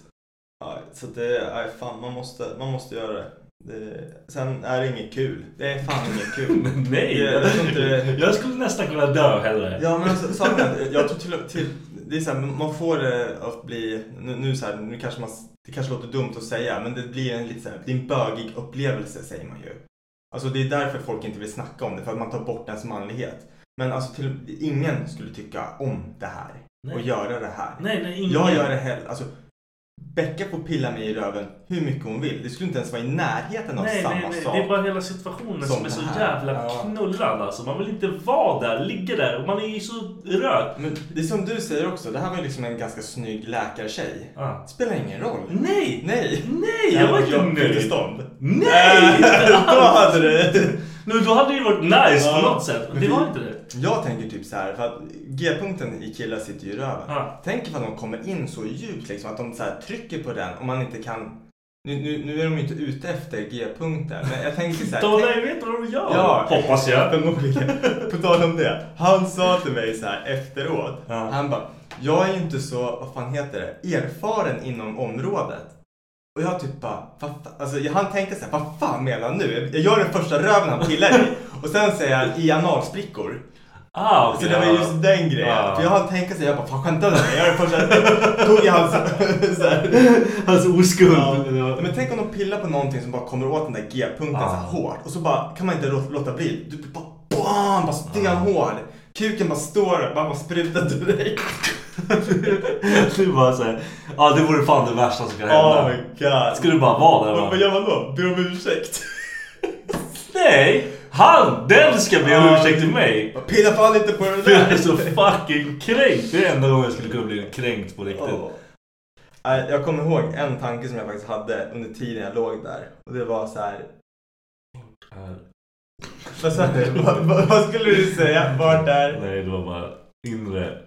Speaker 2: Ja, så det är, aj, fan, man måste, man måste göra det. det. Sen är det inget kul. Det är fan inget kul.
Speaker 4: Nej!
Speaker 2: Det- jag tror inte det-
Speaker 4: Jag skulle nästan kunna dö hellre.
Speaker 2: Ja, men alltså, saken är att jag tror till, till det är så här, man får det att bli, nu, nu så här, nu kanske man, det kanske låter dumt att säga, men det blir en lite så här, det är en bögig upplevelse säger man ju. Alltså det är därför folk inte vill snacka om det, för att man tar bort ens manlighet. Men alltså till, ingen skulle tycka om det här och
Speaker 4: Nej.
Speaker 2: göra det här.
Speaker 4: Nej, nej, ingen.
Speaker 2: Jag gör det hellre. Alltså, Becka får pilla mig i röven hur mycket hon vill. Det skulle inte ens vara i närheten av
Speaker 4: Nej,
Speaker 2: samma
Speaker 4: nej, nej.
Speaker 2: sak.
Speaker 4: Det är bara hela situationen
Speaker 2: Som
Speaker 4: som, är så
Speaker 2: det här.
Speaker 4: jävla
Speaker 2: Ja.
Speaker 4: knullad alltså. Man vill inte vara där, ligga där. Och man är ju så rökt.
Speaker 2: Men det är som du säger också, det här var ju liksom en ganska snygg läkartjej.
Speaker 4: Ja.
Speaker 2: Spelar ingen roll.
Speaker 4: Nej!
Speaker 2: Nej!
Speaker 4: Nej, jag var inte
Speaker 2: fick till
Speaker 4: nöjd.
Speaker 2: stånd.
Speaker 4: Nej! inte
Speaker 2: Då
Speaker 4: alls.
Speaker 2: hade det.
Speaker 4: Nu, då hade det ju varit nice
Speaker 2: Ja.
Speaker 4: på något sätt. Men det
Speaker 2: Men
Speaker 4: var
Speaker 2: vi-
Speaker 4: inte det.
Speaker 2: Jag tänker typ så här, för att G-punkten i killar sitter ju i röven.
Speaker 4: Ja.
Speaker 2: Tänk ifall de kommer in så djupt liksom, att de så här trycker på den och man inte kan... Nu, nu, nu är de ju inte ute efter G-punkter, men jag tänker så här...
Speaker 4: De
Speaker 2: tänk-
Speaker 4: lär ju veta vad de gör.
Speaker 2: Ja.
Speaker 4: Hoppas jag.
Speaker 2: Förmodligen. På tal om det. Han sa till mig så här efteråt.
Speaker 4: Ja.
Speaker 2: Han bara, jag är ju inte så, vad fan heter det, erfaren inom området. Och jag typ bara, vad fa- alltså jag- han tänkte så här, vad fan menar han nu? Jag gör den första röven han pillar i. Och sen säger han i analsprickor.
Speaker 4: Ah,
Speaker 2: Så
Speaker 4: okej.
Speaker 2: det var just den grejen.
Speaker 4: Ja.
Speaker 2: För jag hann tänka så här, jag bara, fan skämtar du med mig? Jag gör den första, tog i hans, så här.
Speaker 4: Hans oskuld.
Speaker 2: Ja. Men tänk om de pillar på någonting som bara kommer åt den där G-punkten så här hårt och så bara kan man inte lå- låta bli. Du blir bara BAM! Bara stenhård. Kuken bara står där, bara, bara sprutar direkt.
Speaker 4: Du bara såhär, ja det vore fan det värsta som kan
Speaker 2: Oh
Speaker 4: hända.
Speaker 2: my god.
Speaker 4: Ska du bara vara där
Speaker 2: Vad-
Speaker 4: och
Speaker 2: Vad
Speaker 4: bara,
Speaker 2: gör man då? Ber om ursäkt?
Speaker 4: Nej! Han! Den ska be om ursäkt till mig!
Speaker 2: Bara, Pilla fan inte på den
Speaker 4: För jag är
Speaker 2: där.
Speaker 4: så fucking kränkt! Det är enda gången jag skulle kunna bli kränkt på riktigt.
Speaker 2: Åh. Oh. Nej, Jag kommer ihåg en tanke som jag faktiskt hade under tiden jag låg där. Och det var så här.
Speaker 4: Eh,
Speaker 2: Vad, sa du? vad, vad, vad skulle du säga? Vart är...
Speaker 4: Nej, det var bara inre.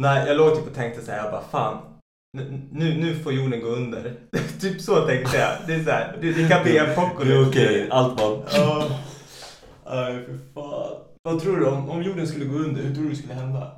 Speaker 2: Nej, jag låg typ och tänkte så här, jag bara fan. Nu, nu, nu får jorden gå under. typ så tänkte jag. Det är så här, det, det kan bli en pocko
Speaker 4: Det är okej, allt bara...
Speaker 2: Ja. Nej, för fan. Vad tror du om, om jorden skulle gå under? Hur tror du det skulle hända?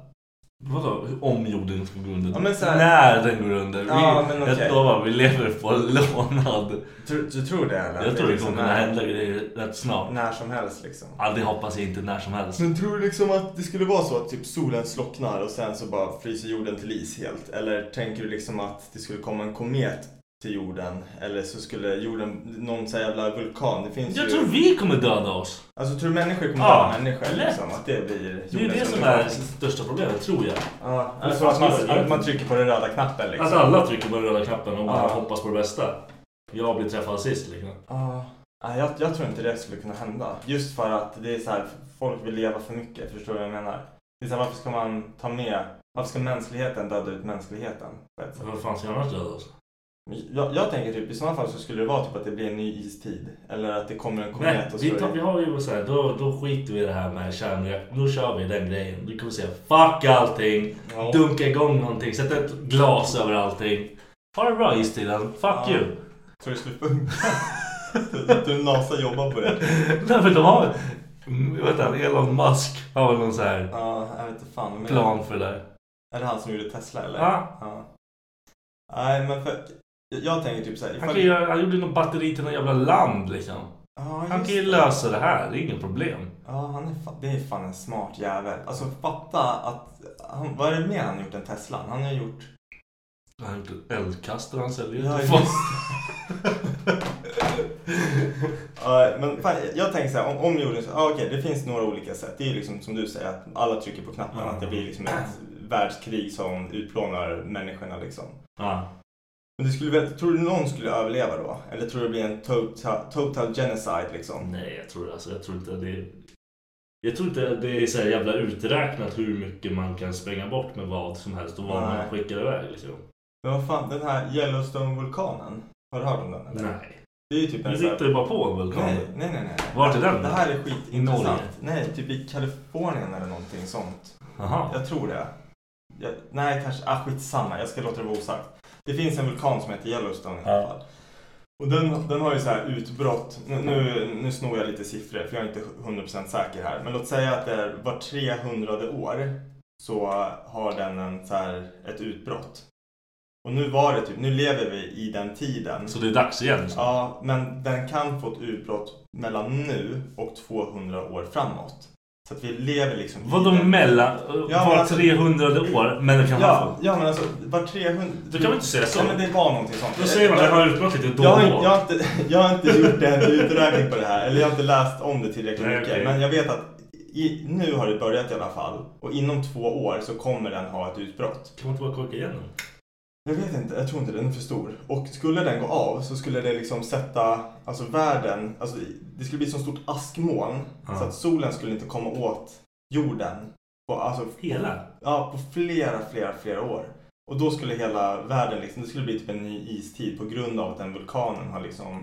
Speaker 4: Vadå? Om jorden skulle gå under?
Speaker 2: Ja, men så här-
Speaker 4: När den går under?
Speaker 2: Ja,
Speaker 4: vi,
Speaker 2: men okej.
Speaker 4: Jag lovar, vi lever på lånad.
Speaker 2: Du, du tror det eller?
Speaker 4: Jag tror det kommer
Speaker 2: Liksom
Speaker 4: kunna
Speaker 2: när-
Speaker 4: hända grejer rätt snart.
Speaker 2: När som helst liksom.
Speaker 4: Ja, det hoppas jag inte när som helst.
Speaker 2: Men tror du liksom att det skulle vara så att typ solen slocknar och sen så bara fryser jorden till is helt? Eller tänker du liksom att det skulle komma en komet till jorden? Eller så skulle jorden, någon så här jävla vulkan, det finns
Speaker 4: Jag
Speaker 2: ju...
Speaker 4: tror vi kommer döda oss.
Speaker 2: Alltså tror du människor kommer
Speaker 4: Ja,
Speaker 2: vara människor
Speaker 4: lätt.
Speaker 2: liksom? Att det blir
Speaker 4: Det är ju det
Speaker 2: jordens
Speaker 4: som
Speaker 2: undergång.
Speaker 4: är det största problemet, tror jag.
Speaker 2: Ja,
Speaker 4: Eller
Speaker 2: alltså att man,
Speaker 4: så-
Speaker 2: att man trycker på den röda knappen liksom.
Speaker 4: Att alla trycker på den röda knappen och bara
Speaker 2: Ja.
Speaker 4: hoppas på det bästa. Jag blir träffad sist liksom.
Speaker 2: Ja, nej, jag, jag tror inte det skulle kunna hända. Just för att det är så här, folk vill leva för mycket, förstår du vad jag menar? Det är så här, varför ska man ta med, varför ska mänskligheten döda ut mänskligheten? På ett sätt?
Speaker 4: Men Vad fan ska jag annars alltså? döda oss?
Speaker 2: Men Jag, jag tänker typ, i sådana fall så skulle det vara typ att det blir en ny istid. Eller att det kommer en
Speaker 4: Nej,
Speaker 2: komet och
Speaker 4: vi, tar,
Speaker 2: slår
Speaker 4: vi
Speaker 2: in.
Speaker 4: har ju så här, då, då skiter vi i det här med kärnreaktor. Nu kör vi den grejen. Du kommer säga fuck allting.
Speaker 2: Ja.
Speaker 4: Dunka igång någonting. Sätt ett glas över allting. Ha det bra istiden. Fuck
Speaker 2: Ja.
Speaker 4: you.
Speaker 2: Tror du det skulle funka? Tror du NASA jobbar på det?
Speaker 4: Nej men de har Mm, Vad heter han? Elon Musk har väl någon så här
Speaker 2: Ja, jag vet inte fan. Men
Speaker 4: plan för det där.
Speaker 2: Är det han som gjorde Tesla eller?
Speaker 4: Ja.
Speaker 2: Nej, men för, jag, jag tänker typ såhär.
Speaker 4: Han, kan göra, han gjorde någon batteri till någon jävla land liksom. Han kan ju lösa det här. Det är inget problem.
Speaker 2: Ja, han är fan, det är fan en smart jävel. Alltså fatta att... Han, vad är det mer han har gjort än Teslan? Han har ju gjort...
Speaker 4: Han har
Speaker 2: typ
Speaker 4: gjort eldkastare han säljer
Speaker 2: Ja,
Speaker 4: ut.
Speaker 2: just Ja, men fan, jag tänker så här, om, om jorden... Ja, okej, det finns några olika sätt. Det är ju liksom som du säger, att alla trycker på knappen.
Speaker 4: Mm.
Speaker 2: Att det blir liksom ett världskrig som utplånar människorna liksom.
Speaker 4: Ja.
Speaker 2: Men det skulle väl, tror du någon skulle överleva då? Eller tror du det blir en total, total genocide liksom?
Speaker 4: Nej, jag tror, alltså, jag tror inte det. Jag tror inte det är så här jävla uträknat hur mycket man kan spränga bort med vad som helst och vad
Speaker 2: Nej.
Speaker 4: man skickar iväg. Liksom.
Speaker 2: Men vad fan, den här Yellowstone-vulkanen. Har du hört om den eller?
Speaker 4: Nej.
Speaker 2: Det är ju typ en
Speaker 4: Du
Speaker 2: så här-
Speaker 4: sitter ju bara på en vulkan.
Speaker 2: Nej, nej, nej. nej.
Speaker 4: Vart är den?
Speaker 2: Det här är
Speaker 4: I Norge?
Speaker 2: skitintressant. Nej, typ i Kalifornien eller någonting sånt.
Speaker 4: Jaha.
Speaker 2: Jag tror det. Jag, nej, kanske. Ah, skitsamma. Jag ska låta det vara osagt. Det finns en vulkan som heter Yellowstone i alla
Speaker 4: Ja.
Speaker 2: fall. Och den, den har ju så här utbrott. Nu, nu, nu snor jag lite siffror för jag är inte 100% säker här. Men låt säga att det är var 300 år så har den en, så här, ett utbrott. Och nu var det typ, nu lever vi i den tiden.
Speaker 4: Så det är dags igen. Så.
Speaker 2: Ja, men den kan få ett utbrott mellan nu och 200 år framåt. Så att vi lever liksom i
Speaker 4: Vadå
Speaker 2: den-
Speaker 4: mellan?
Speaker 2: men
Speaker 4: var
Speaker 2: alltså-
Speaker 4: 300 år? Men det kan
Speaker 2: Ja,
Speaker 4: ja.
Speaker 2: ja, men alltså var 300...
Speaker 4: Du kan väl inte säga så?
Speaker 2: Nej, men det var någonting sånt.
Speaker 4: Då säger man att den har utbrott lite då
Speaker 2: jag,
Speaker 4: och
Speaker 2: har,
Speaker 4: då.
Speaker 2: jag, har inte, jag har inte gjort en uträkning på det här, eller jag har inte läst om det tillräckligt
Speaker 4: Nej,
Speaker 2: mycket.
Speaker 4: okej.
Speaker 2: Men jag vet att i, nu har det börjat i alla fall. Och inom två år så kommer den ha ett utbrott.
Speaker 4: Kan man inte bara koka igen den?
Speaker 2: Jag vet inte, jag tror inte den är för stor. Och skulle den gå av så skulle det liksom sätta alltså världen, alltså det skulle bli ett så stort askmoln
Speaker 4: Ja.
Speaker 2: så att solen skulle inte komma åt jorden. På, alltså,
Speaker 4: Hela?
Speaker 2: ja, på flera, flera, flera år. Och då skulle hela världen liksom, det skulle bli typ en ny istid på grund av att den vulkanen har
Speaker 4: Mm.
Speaker 2: liksom...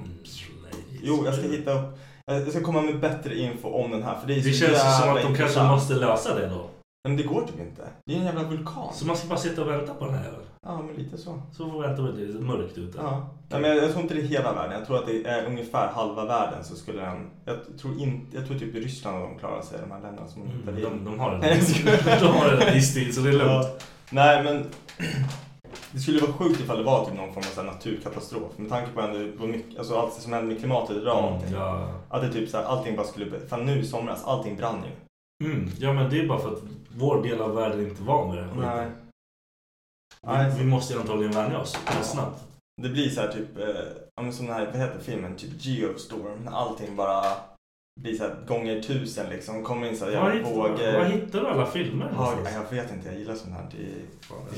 Speaker 4: Nej.
Speaker 2: Jo, jag ska hitta upp, jag jag ska komma med bättre info om den här för det är
Speaker 4: Det
Speaker 2: så
Speaker 4: känns ju som
Speaker 2: jävla
Speaker 4: att de kanske
Speaker 2: intressant.
Speaker 4: måste lösa det då.
Speaker 2: Men det går typ inte. Det är en jävla vulkan.
Speaker 4: Så man ska bara sitta och vänta på den här jäveln.
Speaker 2: Ja, men lite så.
Speaker 4: Så får vi vänta på det är mörkt ute.
Speaker 2: Ja. Nej, men jag, jag tror inte det är hela världen. Jag tror att det är ungefär halva världen så skulle den... Jag tror, in, jag tror typ Ryssland och de klarar sig, de här länderna som
Speaker 4: Mm,
Speaker 2: inte
Speaker 4: De, de har det.
Speaker 2: Nej, jag skojar.
Speaker 4: De har det istid, så det är
Speaker 2: Ja.
Speaker 4: lugnt.
Speaker 2: Nej, men... Det skulle vara sjukt ifall det var typ någon form av så här naturkatastrof. Med tanke på ändå hur mycket, alltså allt som händer med klimatet idag. och allting.
Speaker 4: Mm, Ja.
Speaker 2: Att det typ så här, allting bara skulle... Fan nu i somras, allting brann ju.
Speaker 4: Mm. ja, men det är bara för att vår del av världen är inte är van vid det.
Speaker 2: Nej.
Speaker 4: Vi, vi måste ju antagligen vänja oss rätt snabbt.
Speaker 2: Det blir så här typ, eh, ja, men som den här, vad heter filmen, typ Geostorm. När allting bara blir så här gånger tusen liksom. Kommer in så här
Speaker 4: Var
Speaker 2: jävla
Speaker 4: hittar, var
Speaker 2: vågor.
Speaker 4: hittar du alla filmer
Speaker 2: Ja,
Speaker 4: någonstans?
Speaker 2: jag vet inte, jag gillar sånt här.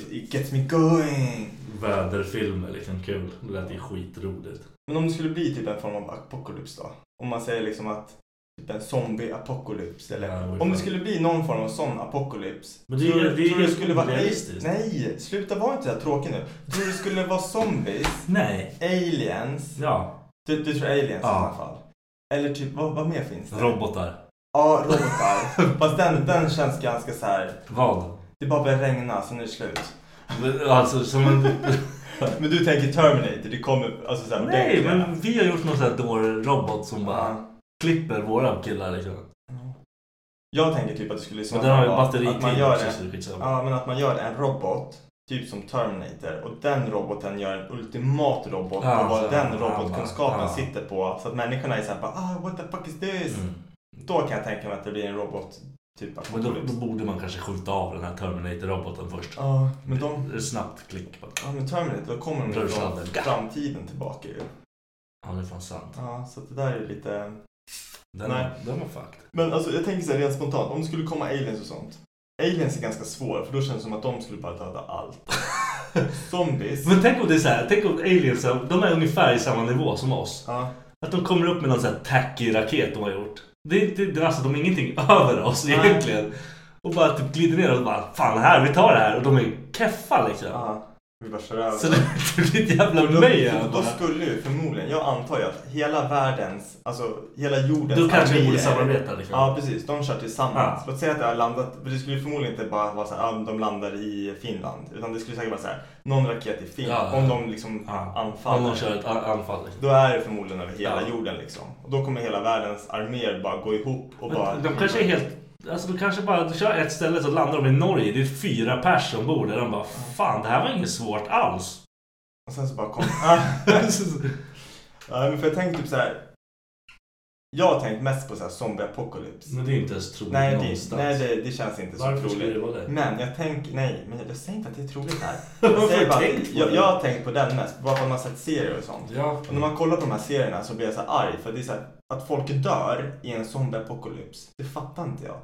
Speaker 2: Det, it gets me going.
Speaker 4: Väderfilmer, liksom kul. Det lät ju skitroligt.
Speaker 2: Men om det skulle bli typ en form av apokalyps då? Om man säger liksom att typ en zombie-apokalyps eller?
Speaker 4: Ja, det var ju
Speaker 2: om det
Speaker 4: fan-
Speaker 2: skulle bli någon form av sån apokalyps.
Speaker 4: Men det är-
Speaker 2: tror du-
Speaker 4: det är ju
Speaker 2: tror du
Speaker 4: helt
Speaker 2: skulle vara
Speaker 4: orealistiskt.
Speaker 2: Nej, sluta vara inte så här tråkig nu. Tror du det skulle vara zombies,
Speaker 4: Nej.
Speaker 2: aliens?
Speaker 4: Ja.
Speaker 2: Du, du tror aliens
Speaker 4: Ja.
Speaker 2: i alla fall? Eller typ, vad, vad mer finns det?
Speaker 4: Robotar.
Speaker 2: Ja, robotar. Fast den, den känns ganska så här.
Speaker 4: Vad?
Speaker 2: det bara börjar regna, sen är det slut.
Speaker 4: Alltså, som en...
Speaker 2: Men du tänker Terminator, det kommer alltså så här
Speaker 4: Nej,
Speaker 2: ordentliga.
Speaker 4: men vi har gjort någon sån här dålig robot som bara
Speaker 2: Ja.
Speaker 4: klipper våra killar liksom.
Speaker 2: Jag tänker typ att det skulle i så
Speaker 4: Men den har ju
Speaker 2: fall vara
Speaker 4: batteri
Speaker 2: att man
Speaker 4: till
Speaker 2: gör
Speaker 4: också,
Speaker 2: en-
Speaker 4: så det är skitsamma.
Speaker 2: Ja, men att man gör en robot, typ som Terminator, och den roboten gör en ultimat robot
Speaker 4: Ja,
Speaker 2: på vad
Speaker 4: så-
Speaker 2: den
Speaker 4: ja,
Speaker 2: robotkunskapen
Speaker 4: ja.
Speaker 2: sitter på. Så att människorna är såhär bara ah, what the fuck is this?
Speaker 4: Mm.
Speaker 2: Då kan jag tänka mig att det blir en robot typ
Speaker 4: Men då,
Speaker 2: apokalyps.
Speaker 4: då borde man kanske skjuta av den här Terminator-roboten först.
Speaker 2: Ja, men de...
Speaker 4: Det är Snabbt klick bara.
Speaker 2: Ja, men Terminator, då kommer de ju från
Speaker 4: Rörsladdar.
Speaker 2: framtiden tillbaka ju.
Speaker 4: Ja, det är fan sant.
Speaker 2: Ja, så att det där är ju lite...
Speaker 4: Den,
Speaker 2: Nej.
Speaker 4: den var fucked.
Speaker 2: Men alltså jag tänker såhär rent spontant, om det skulle komma aliens och sånt. Aliens är ganska svåra för då känns det som att de skulle bara döda allt. Zombies.
Speaker 4: Men tänk om det är så här, tänk om aliens, de är ungefär i samma nivå som oss.
Speaker 2: Ja.
Speaker 4: Att de kommer upp med någon sån här tacky raket de har gjort. Det är inte, det är alltså, de är ingenting över oss egentligen. Och bara typ glider ner och bara Fan här, vi tar det här. Och de är keffa liksom.
Speaker 2: Ja. Vi bara kör över.
Speaker 4: Så det, det blir ett jävla mayhem
Speaker 2: Då
Speaker 4: bara.
Speaker 2: skulle ju förmodligen, jag antar ju att hela världens, alltså hela jordens
Speaker 4: Då kanske vi
Speaker 2: arméer-
Speaker 4: borde samarbeta liksom.
Speaker 2: Ja precis, de kör tillsammans.
Speaker 4: Ja.
Speaker 2: Låt säga att det har landat, för det skulle ju förmodligen inte bara vara så här, ah, de landar i Finland. Utan det skulle säkert vara så här, någon raket i Finland.
Speaker 4: Ja.
Speaker 2: Om de liksom anfaller.
Speaker 4: Om de kör ett a- anfall. liksom.
Speaker 2: Då är det förmodligen över hela
Speaker 4: Ja.
Speaker 2: jorden liksom. Och då kommer hela världens arméer bara gå ihop och bara...
Speaker 4: Men de kanske är helt... Alltså de kanske bara de kör ett ställe så landar de i Norge. Det är fyra pers som bor där. De bara Fan det här var inget svårt alls.
Speaker 2: Och sen så bara kom... Ah. Ja, men för jag tänker typ så här. Jag har tänkt mest på så här zombie apocalypse.
Speaker 4: Men det är inte ens troligt
Speaker 2: Nej, det,
Speaker 4: Mm. någonstans.
Speaker 2: nej det, det känns inte så
Speaker 4: Varför skulle det
Speaker 2: troligt.
Speaker 4: vara det?
Speaker 2: Men jag tänker, nej, men jag säger inte att det är troligt här.
Speaker 4: Varför
Speaker 2: Jag, säger bara,
Speaker 4: har du tänkt på
Speaker 2: jag,
Speaker 4: det?
Speaker 2: jag har tänkt på den mest, bara för att man har sett serier och sånt.
Speaker 4: Ja.
Speaker 2: Och när man kollar på de här serierna så blir jag så här arg för det är så här, att folk dör i en zombieapokalyps. Det fattar inte jag.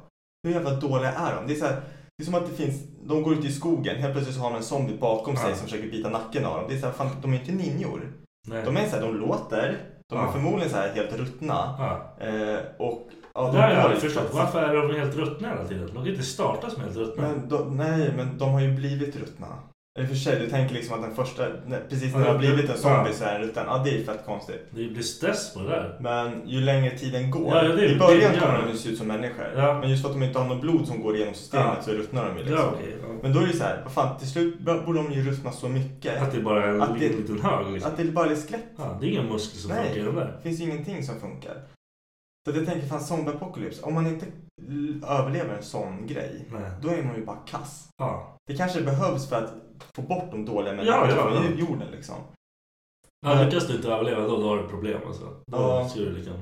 Speaker 2: Hur jävla dåliga är de? Det är så här, det är som att det finns, de går ut i skogen, helt plötsligt så har de en zombie bakom sig
Speaker 4: Ja.
Speaker 2: som försöker bita nacken av dem. Det är så här, fan, de är inte ninjor.
Speaker 4: Nej.
Speaker 2: De är så här, de låter, de är
Speaker 4: Ja.
Speaker 2: förmodligen så här helt ruttna.
Speaker 4: Ja.
Speaker 2: Eh, och, ja,
Speaker 4: Det
Speaker 2: de
Speaker 4: har jag
Speaker 2: går
Speaker 4: aldrig
Speaker 2: lite
Speaker 4: förstått.
Speaker 2: så-
Speaker 4: Varför är de helt ruttna hela tiden? De kan inte starta som helt ruttna.
Speaker 2: Men de, nej, men de har ju blivit ruttna. I och för sig, du tänker liksom att den första, nej, precis när
Speaker 4: Ja,
Speaker 2: det har blivit
Speaker 4: ja.
Speaker 2: en zombie så är den rutten. Ja, det är fett konstigt.
Speaker 4: Det blir stress på det där.
Speaker 2: Men ju längre tiden går.
Speaker 4: Ja, ja, det-
Speaker 2: I början
Speaker 4: det- ja.
Speaker 2: kommer de ju se ut som människor.
Speaker 4: Ja.
Speaker 2: Men just för att de inte har något blod som går igenom systemet
Speaker 4: Ja.
Speaker 2: så ruttnar de ju liksom.
Speaker 4: Ja, okej. ja.
Speaker 2: Men då är det ju så här, vad fan, till slut borde de ju ruttna så mycket
Speaker 4: Att det bara är en
Speaker 2: Att det-
Speaker 4: liten, liten hög liksom.
Speaker 2: att det bara är skelett.
Speaker 4: Ja, det är inga muskler som
Speaker 2: Nej.
Speaker 4: funkar i de där.
Speaker 2: Det finns ju ingenting som funkar. Så att jag tänker, fan zombieapokalyps, om man inte l- överlever en sån grej,
Speaker 4: Nej.
Speaker 2: då är man ju bara kass.
Speaker 4: Ja.
Speaker 2: Det kanske behövs för att få bort de dåliga
Speaker 4: Ja,
Speaker 2: människorna
Speaker 4: ja, ja.
Speaker 2: från jorden liksom.
Speaker 4: Ja, lyckas du inte överleva då, då har du problem alltså. Då
Speaker 2: Ja.
Speaker 4: skulle du liksom...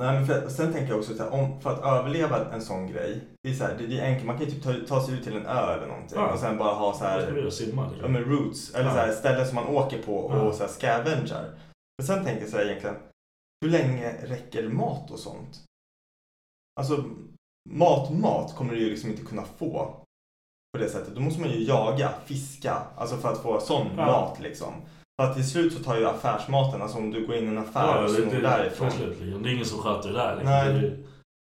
Speaker 2: Nej, men för, sen tänker jag också så här, om, för att överleva en sån grej, det är, så här, det, det är enkelt. Man kan ju typ ta, ta sig ut till en ö eller någonting
Speaker 4: Ja.
Speaker 2: och sen bara ha så
Speaker 4: Då ska
Speaker 2: här,
Speaker 4: du simma
Speaker 2: ja,
Speaker 4: liksom.
Speaker 2: men roots, eller
Speaker 4: Ja.
Speaker 2: så här, ställen som man åker på och
Speaker 4: Ja.
Speaker 2: så här, scavengar. Men sen tänker jag så här egentligen, hur länge räcker mat och sånt? Alltså, mat, mat kommer du ju liksom inte kunna få på det sättet. Då måste man ju jaga, fiska, alltså för att få sån
Speaker 4: Ja.
Speaker 2: mat liksom. För att till slut så tar ju affärsmaten, alltså om du går in i en affär och snor därifrån.
Speaker 4: absolut, liksom. Det är ingen som sköter det där. Liksom.
Speaker 2: Nej.
Speaker 4: Det är-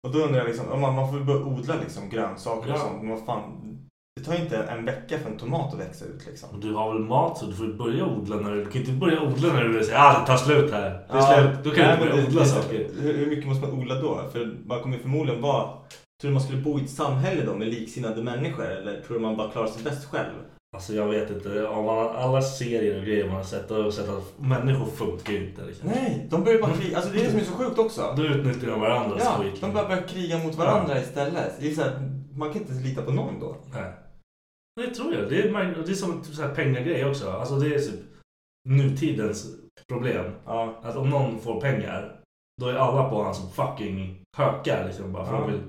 Speaker 2: Och då undrar jag liksom, ja, man, man får ju börja odla liksom grönsaker
Speaker 4: Ja.
Speaker 2: och sånt. Men vad fan, det tar ju inte en vecka för en tomat att växa ut liksom.
Speaker 4: och Du har väl mat så du får ju börja odla när du... Du kan inte börja odla när du säger ah, det tar slut här. Det är slut. Då kan
Speaker 2: nej,
Speaker 4: du
Speaker 2: men
Speaker 4: börja
Speaker 2: det-
Speaker 4: odla
Speaker 2: det-
Speaker 4: saker.
Speaker 2: Hur, hur mycket måste man odla då? För man kommer ju förmodligen vara... Tror du man skulle bo i ett samhälle då med liksinnade människor? Eller tror du man bara klarar sig bäst själv?
Speaker 4: Alltså jag vet inte. Av alla- alla serier och grejer man har sett, då har jag sett att människor funkar ju inte. Liksom.
Speaker 2: Nej, de börjar bara kriga. Alltså det är det som är så sjukt också.
Speaker 4: Då utnyttjar de varandras
Speaker 2: Ja,
Speaker 4: skit.
Speaker 2: de bara börjar kriga mot varandra istället. Det är så här, man kan inte ens lita på någon då.
Speaker 4: Nej. Det tror jag. Det är, man- det är som en typ så här pengagrej också. Alltså det är typ nutidens problem.
Speaker 2: Ja.
Speaker 4: Att om någon får pengar, då är alla på honom som fucking hökar. Liksom, bara, för
Speaker 2: Ja.
Speaker 4: de vill,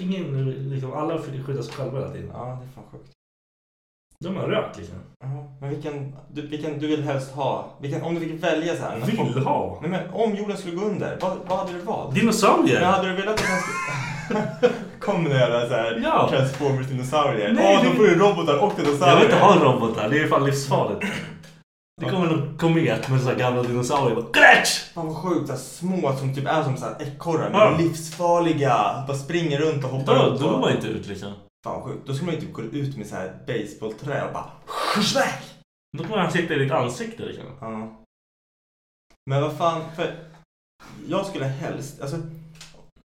Speaker 4: ingen, liksom, alla försöker skydda sig själva hela tiden.
Speaker 2: Ja, det är fan sjukt.
Speaker 4: De har rökt liksom.
Speaker 2: Ja, Men vilken du, vilken du vill helst ha? Vilken, om du fick välja så här. när folk-
Speaker 4: Vill ha!
Speaker 2: Nej men om jorden skulle gå under, vad, vad hade du valt?
Speaker 4: Dinosaurier!
Speaker 2: Men hade du velat att den skulle... Kom nu jävla såhär
Speaker 4: Ja.
Speaker 2: Transformers dinosaurier.
Speaker 4: Nej,
Speaker 2: Åh,
Speaker 4: det-
Speaker 2: då får du robotar och dinosaurier.
Speaker 4: jag vill inte ha robotar, det är fan livsfarligt. Det kommer en komet med så här gamla dinosaurier. Bara, Gretsch!
Speaker 2: Fan vad sjukt, så här små som typ är som så här ekorrar.
Speaker 4: Ja.
Speaker 2: men Livsfarliga. Bara springer runt och hoppar
Speaker 4: Då
Speaker 2: runt.
Speaker 4: då går
Speaker 2: och-
Speaker 4: man inte ut liksom.
Speaker 2: Fan vad sjukt. Då skulle man ju typ gå ut med så här baseballträ och bara... Smack!
Speaker 4: Då kommer han sitta i ditt ansikte liksom.
Speaker 2: Ja. Men vad fan, för jag skulle helst, alltså,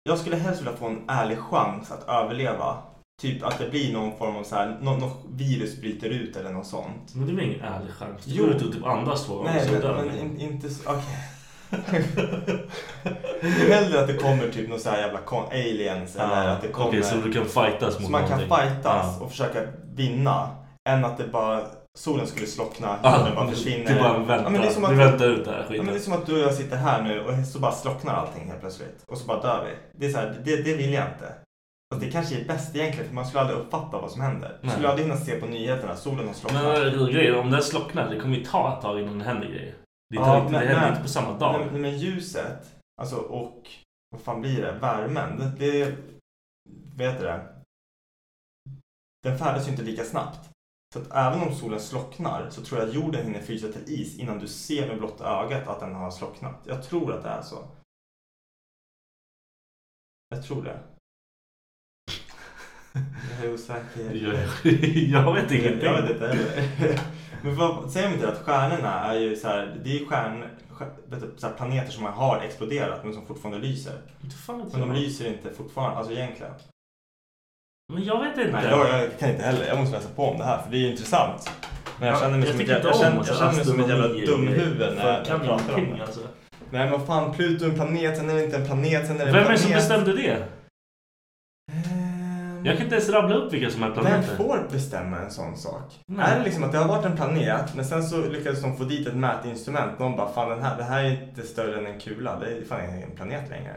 Speaker 2: jag skulle helst vilja få en ärlig chans att överleva. Typ att det blir någon form av så här, någon, något virus bryter ut eller något sånt.
Speaker 4: Men det är väl ingen ärlig chans? Du
Speaker 2: Jo.
Speaker 4: går ut och typ andas två gånger
Speaker 2: Nej,
Speaker 4: så
Speaker 2: men,
Speaker 4: dör
Speaker 2: men
Speaker 4: man.
Speaker 2: in, inte så, okej. Hellre att det kommer typ någon så här jävla kon- aliens eller att det kommer...
Speaker 4: Okej, så du kan fightas mot
Speaker 2: Så man kan
Speaker 4: någonting.
Speaker 2: fightas
Speaker 4: Ja.
Speaker 2: och försöka vinna. Än att det bara, solen skulle slockna,
Speaker 4: Ja,
Speaker 2: jorden bara försvinner.
Speaker 4: Det är bara vänta.
Speaker 2: Ja, men det är som
Speaker 4: Vi
Speaker 2: att,
Speaker 4: väntar ut det här
Speaker 2: ja,
Speaker 4: skiten.
Speaker 2: men det är som att du och jag sitter här nu och så bara slocknar allting helt plötsligt. Och så bara dör vi. Det, är så här, det, det vill jag inte. Fast det kanske är bäst egentligen för man skulle aldrig uppfatta vad som händer. Man
Speaker 4: Nej.
Speaker 2: skulle aldrig hinna se på nyheterna, solen har slocknat.
Speaker 4: Men eh, grejen, om den slocknar, det kommer ju ta ett tag innan det händer grejer. Det, tar
Speaker 2: Ja,
Speaker 4: inte,
Speaker 2: men-
Speaker 4: det händer
Speaker 2: men-
Speaker 4: inte på samma dag.
Speaker 2: Nej, men- men ljuset, alltså och vad fan blir det? Värmen, det, det vet du det? Den färdas ju inte lika snabbt. Så att även om solen slocknar så tror jag att jorden hinner frysa till is innan du ser med blotta ögat att den har slocknat. Jag tror att det är så. Jag tror det. Jag är osäker.
Speaker 4: jag, jag vet ingenting.
Speaker 2: Jag vet inte heller. Men vad, säger de inte att stjärnorna är ju så här, det är stjärn, stjär- vet du, så här planeter som har exploderat men som fortfarande lyser.
Speaker 4: Inte fan vet
Speaker 2: Men de
Speaker 4: jag.
Speaker 2: lyser inte fortfarande, alltså egentligen.
Speaker 4: Men jag vet inte.
Speaker 2: Nej, jag, jag kan inte heller. Jag måste läsa på om det här för det är ju intressant. Men jag
Speaker 4: Ja,
Speaker 2: känner mig som ett
Speaker 4: tycker
Speaker 2: jävla,
Speaker 4: inte
Speaker 2: jag
Speaker 4: om
Speaker 2: känner, jag känner mig som ett jävla
Speaker 4: astronomi-
Speaker 2: dumhuvud när jag
Speaker 4: kan
Speaker 2: pratar om
Speaker 4: ingenting,
Speaker 2: det.
Speaker 4: Alltså.
Speaker 2: Nej men vad fan, Pluto är en planet, sen är det inte en planet, sen är det en
Speaker 4: Vem är det
Speaker 2: planet.
Speaker 4: som bestämde det?
Speaker 2: Ehm,
Speaker 4: Jag kan inte ens rabbla upp vilka som är
Speaker 2: Vem
Speaker 4: planeter.
Speaker 2: får bestämma en sån sak?
Speaker 4: Nej.
Speaker 2: Är det liksom att det har varit en planet men sen så lyckades de få dit ett mätinstrument. Någon bara, fan den här, det här är inte större än en kula. Det är fan ingen planet längre.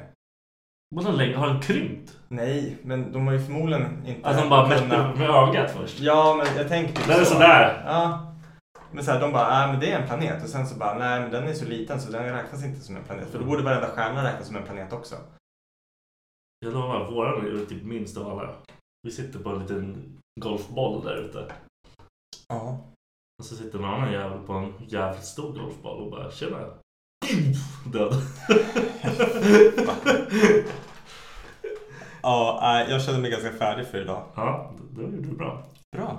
Speaker 4: Vadå länge? Har den krympt?
Speaker 2: Nej, men de har ju förmodligen inte...
Speaker 4: Att Alltså, de bara mätte
Speaker 2: kunnat-
Speaker 4: med ögat först?
Speaker 2: Ja, men jag tänker typ
Speaker 4: Den är sådär.
Speaker 2: Ja. Men så här, de bara, äh, men det är en planet. Och sen så bara, nej men den är så liten så den räknas inte som en planet. För då borde varenda stjärna räknas som en planet också.
Speaker 4: Jag lovar, våran är ju typ minst av alla. Vi sitter på en liten golfboll där ute.
Speaker 2: Ja.
Speaker 4: Och så sitter en annan jävel på en jävligt stor golfboll och bara tjena. Död.
Speaker 2: Ja, nej, jag känner mig ganska färdig för idag.
Speaker 4: ja, det gjorde du bra.
Speaker 2: Bra.